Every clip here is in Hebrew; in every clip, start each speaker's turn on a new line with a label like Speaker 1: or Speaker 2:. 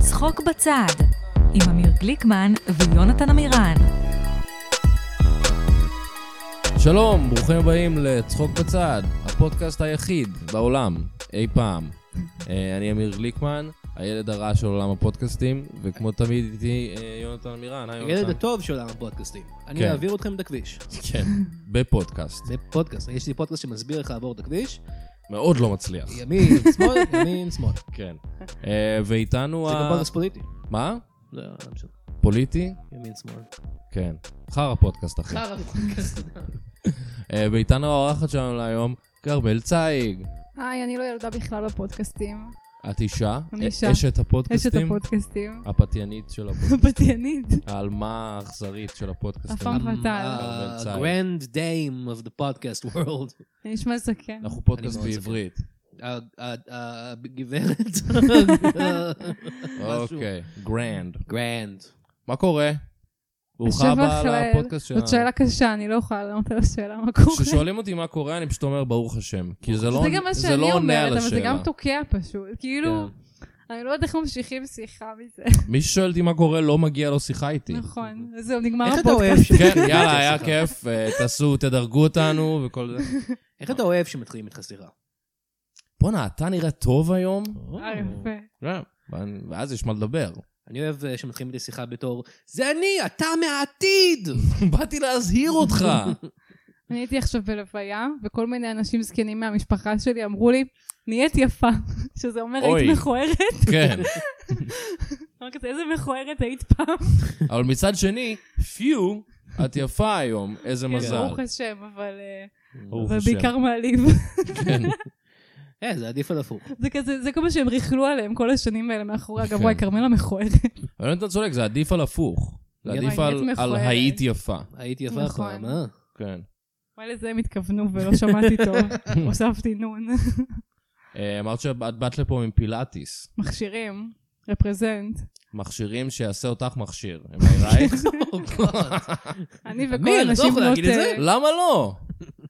Speaker 1: צחוק בצד, עם אמיר גליקמן ויונתן עמירן.
Speaker 2: שלום, ברוכים הבאים לצחוק בצד, הפודקאסט היחיד בעולם אי פעם. אה, אני אמיר גליקמן, הילד הרע של עולם הפודקאסטים, וכמו תמיד איתי אה, יונתן עמירן, היי
Speaker 3: הילד
Speaker 2: יונתן.
Speaker 3: הטוב של עולם הפודקאסטים.
Speaker 2: כן.
Speaker 3: אני אעביר אתכם את הכביש.
Speaker 2: כן, בפודקאסט.
Speaker 3: זה פודקאסט, יש לי פודקאסט שמסביר איך לעבור את הכביש,
Speaker 2: מאוד לא מצליח.
Speaker 3: ימין, שמאל, ימין, שמאל.
Speaker 2: כן. אה, ואיתנו
Speaker 3: זה גם
Speaker 2: ה...
Speaker 3: פודקאסט פוליטי.
Speaker 2: מה?
Speaker 3: לא, לא משנה.
Speaker 2: פוליטי?
Speaker 3: ימין, שמאל. כן.
Speaker 2: כן. חרא פודקאסט, אחי.
Speaker 3: חרא פודקאסט.
Speaker 2: אה, ואיתנו האורחת שלנו להיום, כרמל צייג.
Speaker 4: היי, אני לא ילדה בכלל בפודקאסטים.
Speaker 2: את אישה?
Speaker 4: אני
Speaker 2: א-
Speaker 4: אישה.
Speaker 2: אשת
Speaker 4: יש את
Speaker 2: הפודקאסטים?
Speaker 4: הפודקאסטים.
Speaker 2: הפתיינית של הפודקאסט.
Speaker 4: הפתיינית.
Speaker 2: העלמה האכזרית של הפודקאסטים.
Speaker 4: אף פעם פתאל.
Speaker 2: כרמל צייג.
Speaker 3: הגרנד דיים אה, of the podcast world.
Speaker 4: זה נשמע זקן.
Speaker 2: אנחנו פודקאסט
Speaker 3: מאוד זקן.
Speaker 2: בעברית.
Speaker 3: ה- ה- ה- אה, הגברת. משהו.
Speaker 2: אוקיי, גרנד.
Speaker 3: גרנד.
Speaker 2: מה קורה? ברוכה
Speaker 4: השבח
Speaker 2: הבאה
Speaker 4: לאל.
Speaker 2: לפודקאסט שלנו.
Speaker 4: זאת שאלה קשה, אני לא יכולה לענות על השאלה מה קורה.
Speaker 2: כששואלים אותי מה קורה, אני פשוט אומר ברוך השם. כי זה לא
Speaker 4: זה גם מה
Speaker 2: זה
Speaker 4: שאני
Speaker 2: לא עונה
Speaker 4: אומרת,
Speaker 2: על
Speaker 4: אבל זה
Speaker 2: השאלה. כן.
Speaker 4: גם תוקע פשוט. כאילו,
Speaker 3: כן.
Speaker 4: אני לא יודעת איך ממשיכים שיחה מזה.
Speaker 2: מי ששואל אותי מה קורה, לא מגיע לו שיחה איתי.
Speaker 4: נכון, אז זהו, נגמר
Speaker 3: איך אתה אוהב
Speaker 4: הפודקאסט.
Speaker 3: ש-
Speaker 2: כן, יאללה, היה כיף, אה, תעשו, תדרגו אותנו וכל זה.
Speaker 3: איך אתה אוהב שמתחילים איתך שיחה?
Speaker 2: בואנה, אתה נראה טוב היום?
Speaker 4: אה, יפה.
Speaker 2: כן. ואז יש מה לדבר.
Speaker 3: אני אוהב אה, שמתחילים איתי שיחה בתור, זה אני, אתה מהעתיד!
Speaker 2: באתי להזהיר אותך.
Speaker 4: אני הייתי עכשיו בלוויה, וכל מיני אנשים זקנים מהמשפחה שלי אמרו לי, נהיית יפה, שזה אומר
Speaker 2: אוי.
Speaker 4: היית מכוערת.
Speaker 2: כן.
Speaker 4: אמרתי, איזה מכוערת היית פעם.
Speaker 2: אבל מצד שני, פיו, את יפה היום, איזה מזל.
Speaker 4: כן. ברוך השם, אבל אה,
Speaker 2: ברוך
Speaker 4: אבל
Speaker 2: השם.
Speaker 4: בעיקר מעליב.
Speaker 2: כן.
Speaker 3: אה, זה עדיף על הפוך.
Speaker 4: זה כזה, זה כל מה שהם ריכלו עליהם כל השנים האלה מאחורי הגב,
Speaker 2: כן.
Speaker 4: וואי, כרמלה מכוערת.
Speaker 2: אבל אם אתה צודק, זה עדיף על הפוך. זה
Speaker 3: יפה.
Speaker 2: עדיף
Speaker 4: וואי,
Speaker 2: על-
Speaker 4: נהיית
Speaker 2: על
Speaker 4: מכוערת.
Speaker 2: היית יפה.
Speaker 3: הייתי יפה
Speaker 4: נכון.
Speaker 3: פעם, אה?
Speaker 2: כן.
Speaker 4: וואי, לזה הם התכוונו ולא שמעתי טוב. הוספתי נון.
Speaker 2: אה, אמרת שאת באת לפה עם פילאטיס.
Speaker 4: מכשירים, רפרזנט.
Speaker 2: מכשירים שיעשה אותך מכשיר. am I right?
Speaker 3: Oh,
Speaker 4: אני וכל
Speaker 3: אמיר, אתה
Speaker 4: הנשים
Speaker 3: יכול
Speaker 4: בנות...
Speaker 3: להגיד את זה?
Speaker 4: אה,
Speaker 2: למה לא?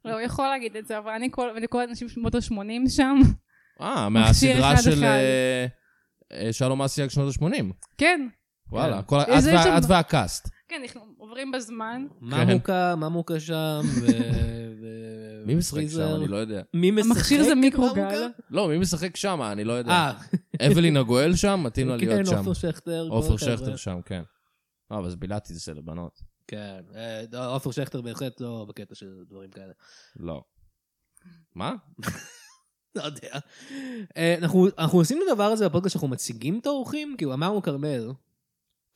Speaker 4: לא, הוא יכול להגיד את זה, אבל אני כל- ואני כל האנשים בשנות ה-80 שם.
Speaker 2: אה,
Speaker 4: מכשיר
Speaker 2: מהסדרה
Speaker 4: אחד
Speaker 2: של
Speaker 4: אחד.
Speaker 2: אה, אה, שלום אסיאג שנות ה-80.
Speaker 4: כן,
Speaker 2: וואלה,
Speaker 3: כן.
Speaker 2: כל ה- את
Speaker 4: איזה
Speaker 2: וה-
Speaker 4: שם-
Speaker 2: את והקאסט.
Speaker 4: כן, אנחנו עוברים בזמן.
Speaker 3: מה
Speaker 2: כן.
Speaker 3: מוקה, מה מוקה שם, ו... ו-
Speaker 2: מי משחק שם?
Speaker 3: פריזר?
Speaker 2: אני לא יודע.
Speaker 3: מי משחק?
Speaker 4: המכשיר זה
Speaker 3: את
Speaker 4: מיקרוגל.
Speaker 3: מה
Speaker 2: לא, מי משחק שם? אני לא
Speaker 3: מוקה?
Speaker 2: יודע.
Speaker 3: אה,
Speaker 2: אבלין הגואל שם? מתאים לה להיות
Speaker 3: כן,
Speaker 2: שם.
Speaker 3: עופר שכטר. כל
Speaker 2: עופר
Speaker 3: החבר'ה.
Speaker 2: שכטר שם, כן. אה, אבל זה פילאטיס זה לבנות.
Speaker 3: כן, אה, לא, עופר שכטר בהחלט לא בקטע של דברים כאלה.
Speaker 2: לא. מה?
Speaker 3: לא יודע. אה, אנחנו אנחנו עושים את הדבר הזה בפודקאסט שאנחנו מציגים את האורחים, כאילו אמרנו כרמל,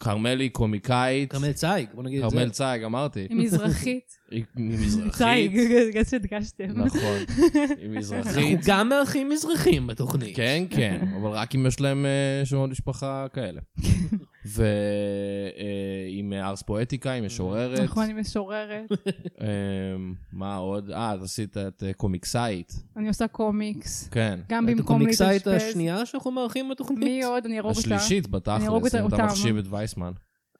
Speaker 2: כרמלי קומיקאית.
Speaker 3: כרמל צייג, בוא נגיד את זה.
Speaker 2: כרמל צייג, אמרתי.
Speaker 4: היא מזרחית.
Speaker 2: היא מזרחית.
Speaker 4: צייג, בגלל שהדגשתם.
Speaker 2: נכון. היא מזרחית.
Speaker 3: אנחנו גם מארחים מזרחים בתוכנית.
Speaker 2: כן, כן, אבל רק אם יש להם אה, שמות משפחה כאלה. ועם ארס פואטיקה, היא משוררת.
Speaker 4: נכון, היא משוררת.
Speaker 2: אה, מה עוד? אה, את עשית את אה, קומיקסאית.
Speaker 4: אני עושה קומיקס.
Speaker 2: כן.
Speaker 4: גם
Speaker 3: את
Speaker 4: במקום
Speaker 3: הקומיקסאית
Speaker 4: להתאשפז.
Speaker 3: השנייה שאנחנו מארחים בתוכנית?
Speaker 4: מי עוד? אני לא ארוג אותה.
Speaker 2: השלישית
Speaker 4: ארוג
Speaker 2: בתכלס,
Speaker 4: אותה-
Speaker 2: אם אתה
Speaker 4: אותם.
Speaker 2: מחשיב את וייסמן.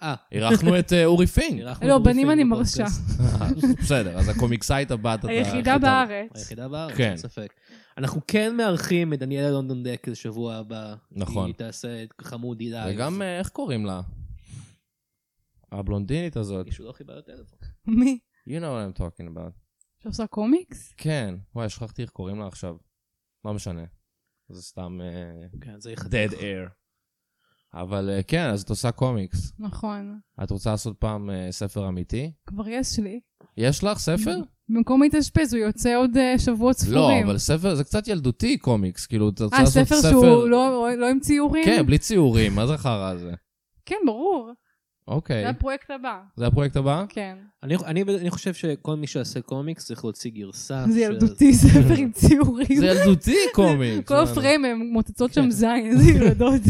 Speaker 3: אה,
Speaker 2: אירחנו את אה, אורי פינק.
Speaker 3: אירחנו
Speaker 4: לא,
Speaker 3: את אורי
Speaker 4: בנים
Speaker 3: פינק
Speaker 4: אני
Speaker 3: בפודקאסט.
Speaker 4: מרשה.
Speaker 2: אה, בסדר, אז הקומיקסאית הבת.
Speaker 3: אה,
Speaker 2: אתה-
Speaker 4: היחידה בארץ.
Speaker 3: היחידה בארץ,
Speaker 2: כן.
Speaker 3: אין ספק. אנחנו כן מארחים את דניאלה לונדון דקל שבוע הבא.
Speaker 2: נכון.
Speaker 3: היא תעשה את חמודי לייב.
Speaker 2: וגם, אה, איך קוראים לה? הבלונדינית הזאת.
Speaker 3: מישהו לא חיבר לטלפון.
Speaker 4: מי?
Speaker 2: You know what I'm talking about.
Speaker 4: שעושה קומיקס?
Speaker 2: כן, וואי, שכחתי איך קוראים לה עכשיו. לא משנה. זה סתם אה,
Speaker 3: כן, זה יחד.
Speaker 2: dead air. אבל אה, כן, אז את עושה קומיקס.
Speaker 4: נכון.
Speaker 2: את רוצה לעשות פעם אה, ספר אמיתי?
Speaker 4: כבר יש לי.
Speaker 2: יש לך ספר?
Speaker 4: במקום להתאשפז, הוא יוצא עוד אה, שבועות
Speaker 2: לא,
Speaker 4: ספורים.
Speaker 2: אבל ספר זה קצת ילדותי קומיקס, כאילו, את רוצה
Speaker 4: אה,
Speaker 2: לעשות
Speaker 4: ספר
Speaker 2: ספר...
Speaker 4: שהוא לא- לא עם ציורים?
Speaker 2: כן, בלי ציורים, מה זה החרא הזה?
Speaker 4: כן, ברור.
Speaker 2: אוקיי.
Speaker 4: זה הפרויקט הבא.
Speaker 2: זה הפרויקט הבא?
Speaker 4: כן.
Speaker 3: אני, אני, אני חושב שכל מי שעושה קומיקס צריך להוציא גרסה.
Speaker 4: זה
Speaker 3: של-
Speaker 4: ילדותי, ספר עם ציורים.
Speaker 2: אה, זה כן. ילדותי קומיקס.
Speaker 4: כל
Speaker 2: מה-
Speaker 4: הפריים הם מוצצות שם זין, איזה ילדות.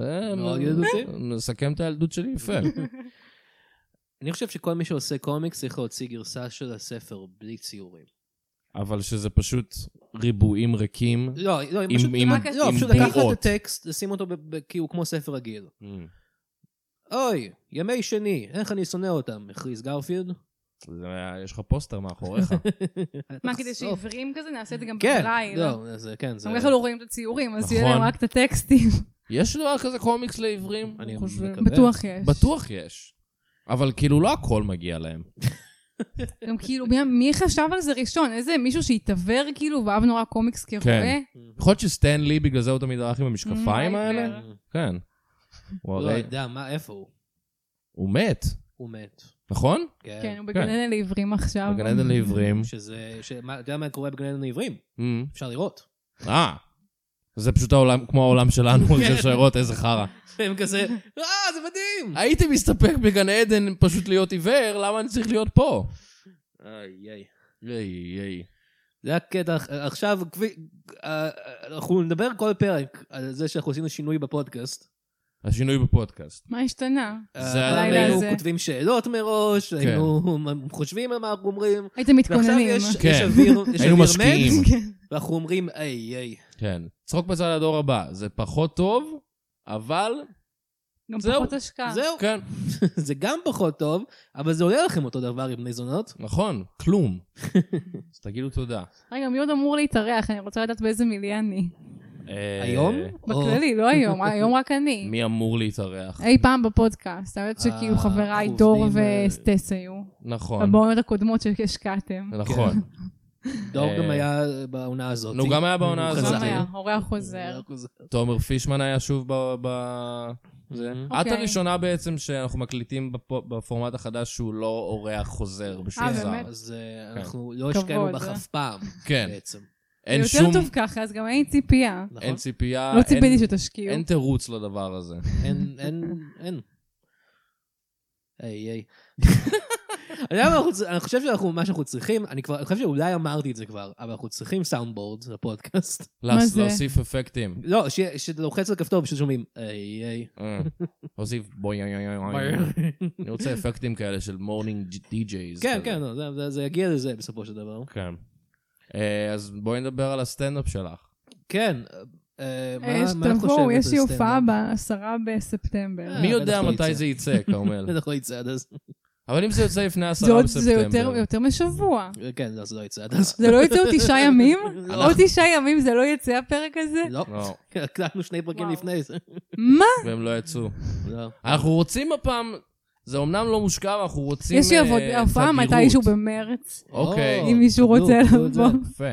Speaker 2: אה,
Speaker 3: מאוד ילדותי.
Speaker 2: מסכם את הילדות שלי יפה.
Speaker 3: אני חושב שכל מי שעושה קומיקס צריך להוציא גרסה של הספר בלי ציורים.
Speaker 2: אבל שזה פשוט ריבועים ריקים.
Speaker 3: לא, לא,
Speaker 2: עם-
Speaker 3: פשוט,
Speaker 2: עם-
Speaker 4: רק-
Speaker 3: לא,
Speaker 2: עם
Speaker 3: פשוט לקחת
Speaker 2: בועות.
Speaker 3: את הטקסט, לשים אותו ב- ב- כאילו כמו ספר רגיל. אוי, ימי שני, איך אני שונא אותם, הכריז גרפילד.
Speaker 2: זה- יש לך פוסטר מאחוריך.
Speaker 4: מה, כדי
Speaker 3: תחשוף.
Speaker 4: שעיוורים כזה, נעשה את זה גם
Speaker 3: לא. כן,
Speaker 4: בברייל.
Speaker 3: לא, זה כן, זה...
Speaker 4: גם ככה לא רואים את הציורים, אז
Speaker 2: נכון.
Speaker 4: יהיה להם רק את הטקסטים.
Speaker 2: יש דבר כזה קומיקס לעיוורים?
Speaker 3: אני
Speaker 2: חושב?
Speaker 3: מקווה.
Speaker 4: בטוח יש.
Speaker 2: בטוח יש. אבל כאילו לא הכל מגיע להם.
Speaker 4: גם כאילו, מי, מי חשב על זה ראשון? איזה מישהו שהתעוור כאילו ואהב נורא קומיקס כרואה?
Speaker 2: כן.
Speaker 3: Mm-hmm.
Speaker 2: יכול להיות שסטן לי, בגלל זה הוא תמיד הלך עם המשקפיים
Speaker 4: Mm,
Speaker 2: האלה?
Speaker 4: אייבר.
Speaker 2: כן. הוא
Speaker 3: לא
Speaker 2: הרי...
Speaker 3: יודע, מה, איפה הוא?
Speaker 2: הוא מת,
Speaker 3: הוא מת.
Speaker 2: נכון?
Speaker 4: כן, הוא
Speaker 2: כן.
Speaker 4: בגן עדן לעיוורים עכשיו.
Speaker 2: בגן עדן לעיוורים.
Speaker 3: שזה, שמה- אתה יודע מה קורה בגן עדן העברים?
Speaker 2: אמ,
Speaker 3: אפשר לראות.
Speaker 2: אה. זה פשוט העולם, כמו העולם שלנו,
Speaker 3: כן.
Speaker 2: זה שיירות איזה חרא.
Speaker 3: הם כזה, אה, זה מדהים!
Speaker 2: הייתי מסתפק בגן עדן פשוט להיות עיוור, למה אני צריך להיות פה?
Speaker 3: איי, איי.
Speaker 2: איי, איי.
Speaker 3: זה הקטע, עכשיו, כפי- אה, אה, אנחנו נדבר כל פרק על זה שאנחנו עשינו שינוי בפודקאסט.
Speaker 2: השינוי בפודקאסט.
Speaker 4: מה השתנה?
Speaker 2: זה
Speaker 3: אה,
Speaker 4: הלילה
Speaker 3: היינו
Speaker 4: הזה.
Speaker 3: כותבים שאלות מראש, היינו חושבים על מה אנחנו אומרים,
Speaker 4: הייתם
Speaker 3: ועכשיו
Speaker 4: מתכוננים. אה,
Speaker 3: יש יש
Speaker 2: כן.
Speaker 3: אוויר, יש
Speaker 2: היינו
Speaker 3: אוויר
Speaker 2: משקיעים.
Speaker 3: מת,
Speaker 4: כן.
Speaker 3: ואנחנו אומרים, איי, איי.
Speaker 2: כן. צחוק בצד הדור הבא, זה פחות טוב, אבל...
Speaker 4: גם
Speaker 2: זהו.
Speaker 4: פחות השקעה.
Speaker 3: זהו,
Speaker 2: כן.
Speaker 3: זה גם פחות טוב, אבל זה עולה לכם אותו דבר עם בני זונות.
Speaker 2: נכון, כלום. אז תגידו תודה.
Speaker 4: רגע, מי עוד אמור להתארח? אני רוצה לדעת באיזה מילי אני.
Speaker 2: אה,
Speaker 3: היום? או-
Speaker 4: בכללי, לא היום, היום רק אני.
Speaker 2: מי אמור להתארח?
Speaker 4: אי פעם בפודקאסט, האמת
Speaker 3: אה,
Speaker 4: שכאילו חבריי
Speaker 3: אנחנו
Speaker 4: דור
Speaker 3: עובדים, אה,
Speaker 4: וסטס היו,
Speaker 2: נכון.
Speaker 4: בבעונות הקודמות שהשקעתם.
Speaker 2: נכון.
Speaker 3: דור
Speaker 2: אה,
Speaker 3: גם היה בעונה הזאת.
Speaker 2: נו, גם היה בעונה
Speaker 3: הוא
Speaker 2: הזאת.
Speaker 3: חזר.
Speaker 4: גם היה, אורח חוזר.
Speaker 3: הוא חזר.
Speaker 2: תומר פישמן היה שוב ב... ב- זה. את
Speaker 4: אוקיי.
Speaker 2: הראשונה בעצם שאנחנו מקליטים בפו- בפורמט החדש שהוא לא אורח חוזר בשום
Speaker 4: אה,
Speaker 2: זמן.
Speaker 4: באמת?
Speaker 3: אז אה,
Speaker 2: כן.
Speaker 3: אנחנו לא
Speaker 4: כבוד,
Speaker 3: השקענו בך
Speaker 4: אה?
Speaker 3: אף פעם,
Speaker 2: כן.
Speaker 3: בעצם.
Speaker 2: אין
Speaker 4: זה
Speaker 2: שום...
Speaker 4: יותר טוב ככה, אז גם אין ציפייה.
Speaker 3: נכון?
Speaker 2: אין ציפייה.
Speaker 4: לא ציפיתי
Speaker 2: אין-
Speaker 4: שתשקיעו.
Speaker 2: אין תירוץ לדבר הזה.
Speaker 3: אין, אין, אין. איי, איי. אני לא יודע מה אנחנו צר- אני חושב שאנחנו, מה שאנחנו צריכים, אני כבר, אני חושב שאולי אמרתי את זה כבר, אבל אנחנו צריכים סאונד בורד לפודקאסט.
Speaker 2: מה
Speaker 4: זה?
Speaker 2: להוסיף אפקטים.
Speaker 3: לא, ש- שאתה לוחץ על כפתור ופשוט שומעים, איי, איי.
Speaker 2: אה, להוסיף בואי אה, יוי יוי יוי. אני רוצה אפקטים כאלה של מורנינג די-ג'ייז.
Speaker 3: כן, כן, לא, זה- זה- זה יגיע לזה בסופו של דבר.
Speaker 2: כן. אה, אז בואי נדבר על הסטנדאפ שלך.
Speaker 3: כן, אה, מה
Speaker 4: אה,
Speaker 3: מה את חושבת?
Speaker 4: תבואו, יש לי
Speaker 3: על
Speaker 4: הופעה
Speaker 3: סטנדאפ?
Speaker 4: בעשרה בספטמבר.
Speaker 3: אה,
Speaker 2: מי יודע
Speaker 3: בטח לא
Speaker 2: מתי
Speaker 3: יצא.
Speaker 2: זה יצא, כרמל.
Speaker 3: בטח לא יצא עד אז.
Speaker 2: אבל אם זה יוצא לפני
Speaker 4: זה
Speaker 2: עשרה
Speaker 4: עוד- זה
Speaker 2: בספטמבר.
Speaker 4: יותר- יותר משבוע.
Speaker 3: כן, לא, זה לא יצא עד אז.
Speaker 4: זה לא יצא עוד תשעה ימים?
Speaker 2: אה,
Speaker 3: לא.
Speaker 4: עוד תשעה ימים זה לא יצא הפרק הזה?
Speaker 3: לא,
Speaker 2: לא,
Speaker 3: הקלטנו שני פרקים
Speaker 4: וואו.
Speaker 3: לפני זה.
Speaker 4: מה?
Speaker 2: והם לא יצאו.
Speaker 3: לא.
Speaker 2: אנחנו רוצים הפעם, זה אומנם לא מושקע, אבל אנחנו רוצים
Speaker 4: יש לי
Speaker 2: אה,
Speaker 4: עבוד- הופעה
Speaker 2: תדירות.
Speaker 4: מתישהו במרץ.
Speaker 2: אוקיי.
Speaker 3: או,
Speaker 4: אם מישהו
Speaker 3: תקבלו,
Speaker 4: רוצה
Speaker 3: תקבלו את זה.
Speaker 4: לבוא.
Speaker 2: יפה.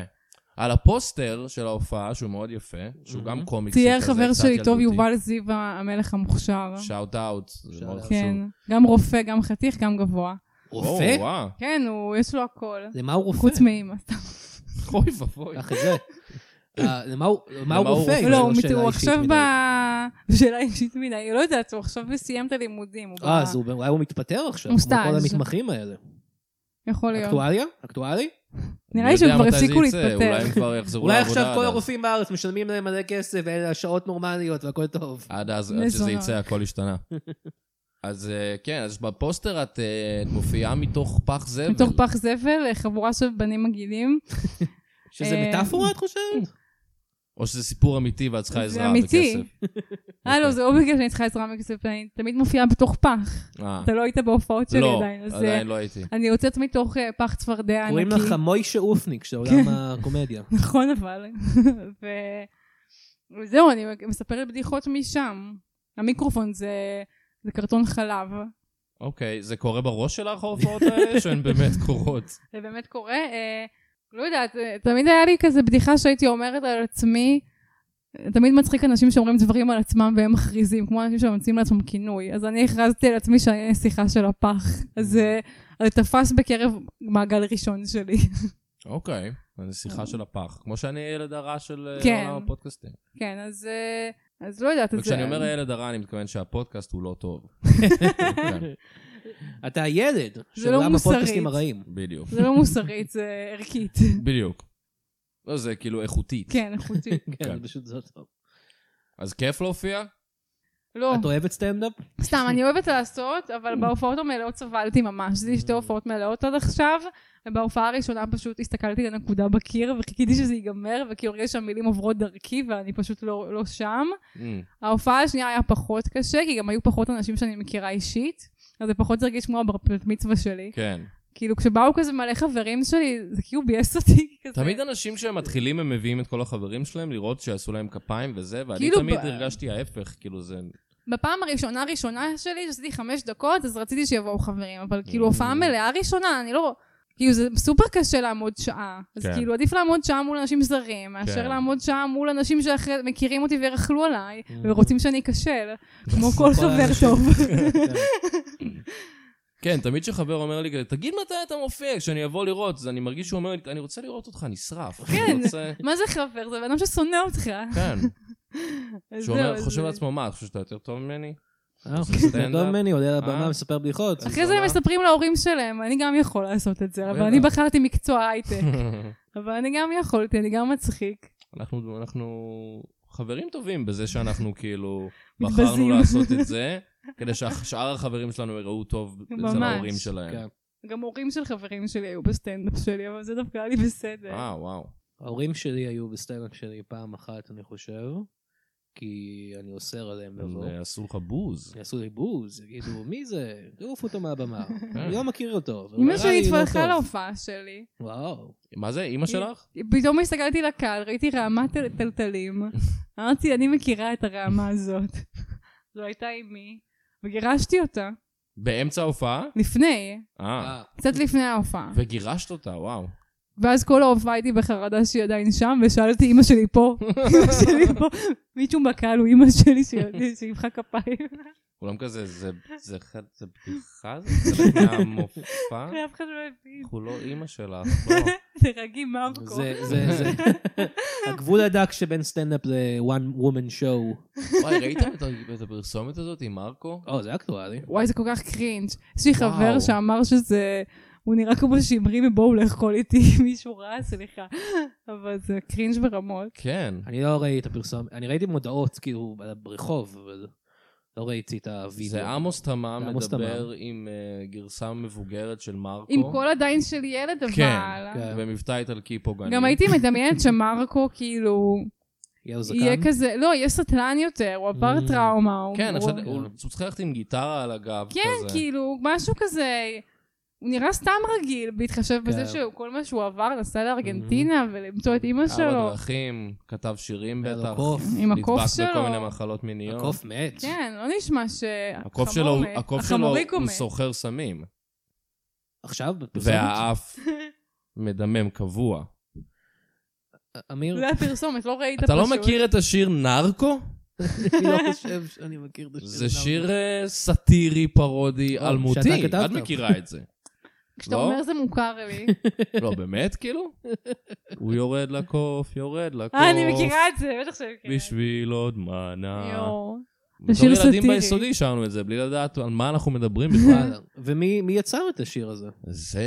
Speaker 2: על הפוסטר של ההופעה, שהוא מאוד יפה,
Speaker 3: Mm-hmm.
Speaker 2: שהוא גם קומיקסי
Speaker 4: צייר
Speaker 2: כזה,
Speaker 4: חבר
Speaker 2: קצת
Speaker 4: שלי טוב,
Speaker 2: ילדותי.
Speaker 4: יובל זיו המלך המוכשר.
Speaker 2: שאוט אאוט, זה
Speaker 3: שאוט
Speaker 2: מאוד
Speaker 3: אאוט.
Speaker 2: חשוב.
Speaker 4: נכון? כן, גם רופא, גם חתיך, גם גבוה.
Speaker 3: רופא?
Speaker 2: או, וואו.
Speaker 4: כן, הוא, יש לו הכל.
Speaker 3: למה הוא רופא?
Speaker 4: חוץ מאמא. סתם.
Speaker 2: אוי ואבוי.
Speaker 3: קח את זה. אה, למה הוא- למה הוא
Speaker 2: הוא
Speaker 3: רופא?
Speaker 2: רופא?
Speaker 3: זו
Speaker 4: לא, הוא מת-
Speaker 3: שאלה
Speaker 4: הוא
Speaker 3: אישית
Speaker 4: עכשיו
Speaker 3: מדי.
Speaker 4: ב... שאלה אישית מדי, לא יודעת, הוא עכשיו סיים את הלימודים. הוא
Speaker 3: אה,
Speaker 4: ב-
Speaker 3: אז הוא- אולי הוא מתפטר עכשיו,
Speaker 4: הוא
Speaker 3: כמו כל
Speaker 4: סטאז'.
Speaker 3: המתמחים האלה.
Speaker 4: יכול להיות.
Speaker 3: אקטואליה? אקטואלי?
Speaker 4: נראה
Speaker 2: מי
Speaker 4: לי שהם
Speaker 2: יודע
Speaker 4: כבר
Speaker 2: מתי זה
Speaker 4: הפסיקו
Speaker 2: יצא, אולי הם
Speaker 4: להתפטר.
Speaker 2: כבר יחזרו
Speaker 3: אולי
Speaker 2: לעבודה.
Speaker 3: עכשיו כל
Speaker 2: עד אז.
Speaker 3: הרופאים בארץ משלמים להם מלא כסף, ואלה השעות נורמליות והכל טוב.
Speaker 4: אה,
Speaker 2: עד אז, עד שזה
Speaker 4: מזונות.
Speaker 2: יצא, הכל השתנה. אז אה, כן, אז בפוסטר את אה, מופיעה מתוך פח זבל.
Speaker 4: מתוך פח זבל, אה, חבורה של בנים מגעילים.
Speaker 3: שזה
Speaker 4: אה,
Speaker 3: מטאפורה, את חושבת?
Speaker 2: או שזה סיפור אמיתי ואת צריכה
Speaker 4: זה
Speaker 2: עזרה אוקיי.
Speaker 4: אמיתי.
Speaker 2: בכסף.
Speaker 4: אה, לא, זה לא בגלל שאני צריכה עזרה מכסף, אני תמיד מופיעה בתוך פח.
Speaker 2: אה,
Speaker 4: אתה לא היית בהופעות שלי
Speaker 2: לא,
Speaker 4: עדיין, אז אה,
Speaker 2: עדיין לא הייתי.
Speaker 4: אני יוצאת מתוך אה, פח צפרדע ענקי.
Speaker 3: קוראים לך מוי שאופניק של עולם הקומדיה.
Speaker 4: נכון אבל. ו- וזהו, אני מספרת בדיחות משם. המיקרופון זה, זה קרטון חלב.
Speaker 2: אוקיי, זה קורה בראש שלך ההופעות האלה, שהן באמת קורות?
Speaker 4: זה באמת קורה. אה, לא יודעת, אה, תמיד היה לי כזה בדיחה שהייתי אומרת על עצמי. תמיד מצחיק אנשים שאומרים דברים על עצמם והם מכריזים, כמו אנשים שממציאים לעצמם כינוי. אז אני הכרזתי על עצמי שאני נסיכה של הפח. אז אה, זה תפס בקרב מעגל ראשון שלי.
Speaker 2: אוקיי, הנסיכה של הפח. כמו שאני הילד הרע של אה,
Speaker 4: כן.
Speaker 2: עולם הפודקאסטים.
Speaker 4: כן, אז, אה, אז לא יודעת. אז-
Speaker 2: וכשאני אומר הילד הרע, אני מתכוון שהפודקאסט הוא לא טוב. כן,
Speaker 3: אתה הילד של
Speaker 4: לא
Speaker 3: עולם
Speaker 4: מוסרית.
Speaker 3: הפודקאסטים הרעים.
Speaker 2: בדיוק.
Speaker 4: זה לא מוסרית, זה ערכית.
Speaker 2: בדיוק. לא, זה כאילו איכותית.
Speaker 4: כן, איכותי.
Speaker 2: כן.
Speaker 3: כן, פשוט זאת טוב.
Speaker 2: אז כיף להופיע?
Speaker 4: לא,
Speaker 3: את אוהבת סטנדאפ?
Speaker 4: סתם, אני אוהבת לעשות, אבל בהופעות המלאות סבלתי ממש. עשיתי שתי הופעות מלאות עד עכשיו, ובהופעה הראשונה פשוט הסתכלתי לנקודה בקיר, וחיכיתי שזה ייגמר, וכאילו הרגשתי שהמילים עוברות דרכי, ואני פשוט לא, לא שם.
Speaker 2: אמ,
Speaker 4: ההופעה השנייה היה פחות קשה, כי גם היו פחות אנשים שאני מכירה אישית, אז זה פחות הרגיש כמו הבר מצווה שלי.
Speaker 2: כן.
Speaker 4: כאילו, כשבאו כזה מלא חברים שלי, זה כאילו ביאס אותי כזה.
Speaker 2: תמיד אנשים שהם מתחילים, הם מביאים את כל החברים שלהם לראות שעשו להם כפיים וזה, ואני
Speaker 4: כאילו
Speaker 2: תמיד
Speaker 4: ב-
Speaker 2: הרגשתי ההפך, כאילו זה...
Speaker 4: בפעם הראשונה הראשונה שלי, שעשיתי חמש דקות, אז רציתי שיבואו חברים, אבל
Speaker 2: Mm.
Speaker 4: כאילו הופעה מלאה ראשונה, אני לא... כאילו זה סופר קשה לעמוד שעה. אז
Speaker 2: כן.
Speaker 4: כאילו עדיף לעמוד שעה מול אנשים זרים,
Speaker 2: כן.
Speaker 4: מאשר לעמוד שעה מול אנשים שמכירים אותי וירכלו עליי,
Speaker 3: Mm.
Speaker 4: ורוצים שאני אכשל, כמו כל חבר
Speaker 3: האנשים.
Speaker 4: טוב.
Speaker 2: כן, תמיד כשחבר אומר לי כזה, תגיד מתי אתה מופיע, כשאני אבוא לראות, אז אני מרגיש שהוא אומר לי, אני רוצה לראות אותך נשרף. אני
Speaker 4: כן.
Speaker 2: רוצה-
Speaker 4: מה זה חבר? זה בן אדם ששונא אותך.
Speaker 2: כן.
Speaker 4: אז
Speaker 2: שהוא אומר,
Speaker 4: זהו,
Speaker 2: חושב
Speaker 4: זה-
Speaker 2: לעצמו, מה, אתה חושב שאתה יותר טוב ממני?
Speaker 3: אה,
Speaker 2: סטנדאפ.
Speaker 3: טוב ממני, עולה על הבמה,
Speaker 2: אה.
Speaker 3: מספר בדיחות.
Speaker 4: אחרי זה הם
Speaker 2: מה?
Speaker 4: מספרים להורים שלהם, אני גם יכול לעשות את זה, אבל
Speaker 2: בטח.
Speaker 4: אני בחרתי מקצוע הייטק. אבל אני גם יכולתי, אני גם מצחיק.
Speaker 2: אנחנו, אנחנו חברים טובים בזה שאנחנו כאילו
Speaker 4: מתבזים.
Speaker 2: בחרנו לעשות את זה, כדי ששאר החברים שלנו יראו טוב אצל
Speaker 4: ממש.
Speaker 2: ההורים שלהם.
Speaker 3: כן.
Speaker 4: גם הורים של חברים שלי היו בסטנדאפ שלי, אבל זה דווקא היה לי בסדר.
Speaker 2: אה, וואו.
Speaker 3: ההורים שלי היו בסטנדאפ שלי פעם אחת, אני חושב, כי אני אוסר עליהם לבוא.
Speaker 2: הם עשו לך בוז.
Speaker 3: יעשו לי בוז, יגידו, מי זה? תעוף אותו מהבמה.
Speaker 2: אה.
Speaker 3: אני לא מכיר אותו.
Speaker 4: אמא
Speaker 3: והוא נראה
Speaker 4: שלי
Speaker 3: לי לא
Speaker 4: התפרחה
Speaker 3: טוב.
Speaker 4: להופעה שלי.
Speaker 3: וואו.
Speaker 4: כן.
Speaker 2: מה זה, אימא שלך?
Speaker 4: פתאום הסתכלתי לקהל, ראיתי רעמת טל- טלטלים. אמרתי, אני מכירה את הרעמה הזאת. זו הייתה אימי, וגירשתי אותה.
Speaker 2: באמצע ההופעה?
Speaker 4: לפני,
Speaker 2: אה.
Speaker 4: קצת לפני ההופעה.
Speaker 2: וגירשת אותה, וואו.
Speaker 4: ואז כל ההופעה הייתי בחרדה שהיא עדיין שם, ושאלתי, אמא שלי פה? אמא שלי פה? מישהו בקהל הוא אמא שלי ש- שימחא כפיים.
Speaker 2: כולם כזה, זה- זה ח- זה בדיחה? זה חלק מהמופע?
Speaker 4: אף אחד לא הבין.
Speaker 2: אנחנו לא אימא שלך, לא." בוא.
Speaker 4: תרגי מרקו.
Speaker 3: אה, זה, זה, זה. הגבול הדק שבין סטנדאפ ל-one woman show.
Speaker 2: וואי, ראיתם את ה- את הפרסומת הזאת עם מרקו?
Speaker 3: או, זה אקטואלי.
Speaker 4: וואי, זה כל כך קרינג'. יש לי
Speaker 2: וואו.
Speaker 4: חבר שאמר שזה... הוא נראה כמו שמרי מבואו לאכול איתי, מישהו רע, סליחה. אבל זה קרינג' ברמות.
Speaker 2: כן.
Speaker 3: אני לא ראיתי את הפרסום, אני ראיתי מודעות כאילו ברחוב, אבל לא ראיתי את הווידאו.
Speaker 2: זה עמוס תמם
Speaker 3: זה עמוס
Speaker 2: מדבר עם אה, גרסה מבוגרת של מרקו.
Speaker 4: עם כל עדיין של ילד,
Speaker 2: אוקיי. כן,
Speaker 4: אבל...
Speaker 3: כן.
Speaker 2: במבטא איטלקי פוגעני.
Speaker 4: גם הייתי מדמיינת שמרקו, כאילו,
Speaker 3: יהיה לו זקן?
Speaker 4: יהיה כזה, לא, יהיה סטלן יותר, הוא עבר
Speaker 3: Mm.
Speaker 4: טראומה. הוא-
Speaker 2: כן,
Speaker 4: הוא-
Speaker 2: עכשיו הוא הוא צריך ללכת עם גיטרה על הגב כזה.
Speaker 4: כן, כאילו, משהו כזה... הוא נראה סתם רגיל, בהתחשב
Speaker 2: כן.
Speaker 4: בזה שכל מה שהוא עבר, נסע לארגנטינה ולמצוא את אימא
Speaker 2: Mm-hmm. ארבע
Speaker 4: שלו.
Speaker 2: דרכים, כתב שירים
Speaker 3: היה לו
Speaker 2: בטח.
Speaker 3: קוף.
Speaker 4: עם הקוף
Speaker 2: נדבק בכל מיני
Speaker 4: שלו.
Speaker 2: מחלות מיניות.
Speaker 3: הקוף מת.
Speaker 4: כן, לא נשמע שהחמור
Speaker 2: הקוף שלו, הוא-
Speaker 4: מת.
Speaker 2: הקוף שלו הוא-
Speaker 4: החמוריקו
Speaker 2: הוא
Speaker 4: מת.
Speaker 2: סוחר סמים.
Speaker 3: עכשיו? בפרסומת?
Speaker 2: והאף מדמם קבוע.
Speaker 3: אמיר?
Speaker 4: זה הפרסומת, לא ראית פשוט.
Speaker 2: אתה לא מכיר את השיר נרקו?
Speaker 3: אני לא חושב שאני מכיר את השיר.
Speaker 2: זה שיר אה, סאטירי, פרודי,
Speaker 3: או,
Speaker 2: אלמותי.
Speaker 3: שאתה כתבת.
Speaker 2: את מכירה את זה.
Speaker 4: כשאתה
Speaker 2: לא?
Speaker 4: אומר זה מוכר לי.
Speaker 2: לא, באמת, כאילו? הוא יורד לקוף, יורד לקוף.
Speaker 4: אה, אני מכירה את זה, בטח שאני מכירה את זה.
Speaker 2: בשביל עוד מנה.
Speaker 4: יואו.
Speaker 2: בתור
Speaker 4: בשיר
Speaker 2: ילדים
Speaker 4: סאטירי.
Speaker 2: ביסודי שרנו את זה, בלי לדעת על מה אנחנו מדברים בכלל.
Speaker 3: וואלה. ומי מי יצר את השיר הזה?
Speaker 2: זה...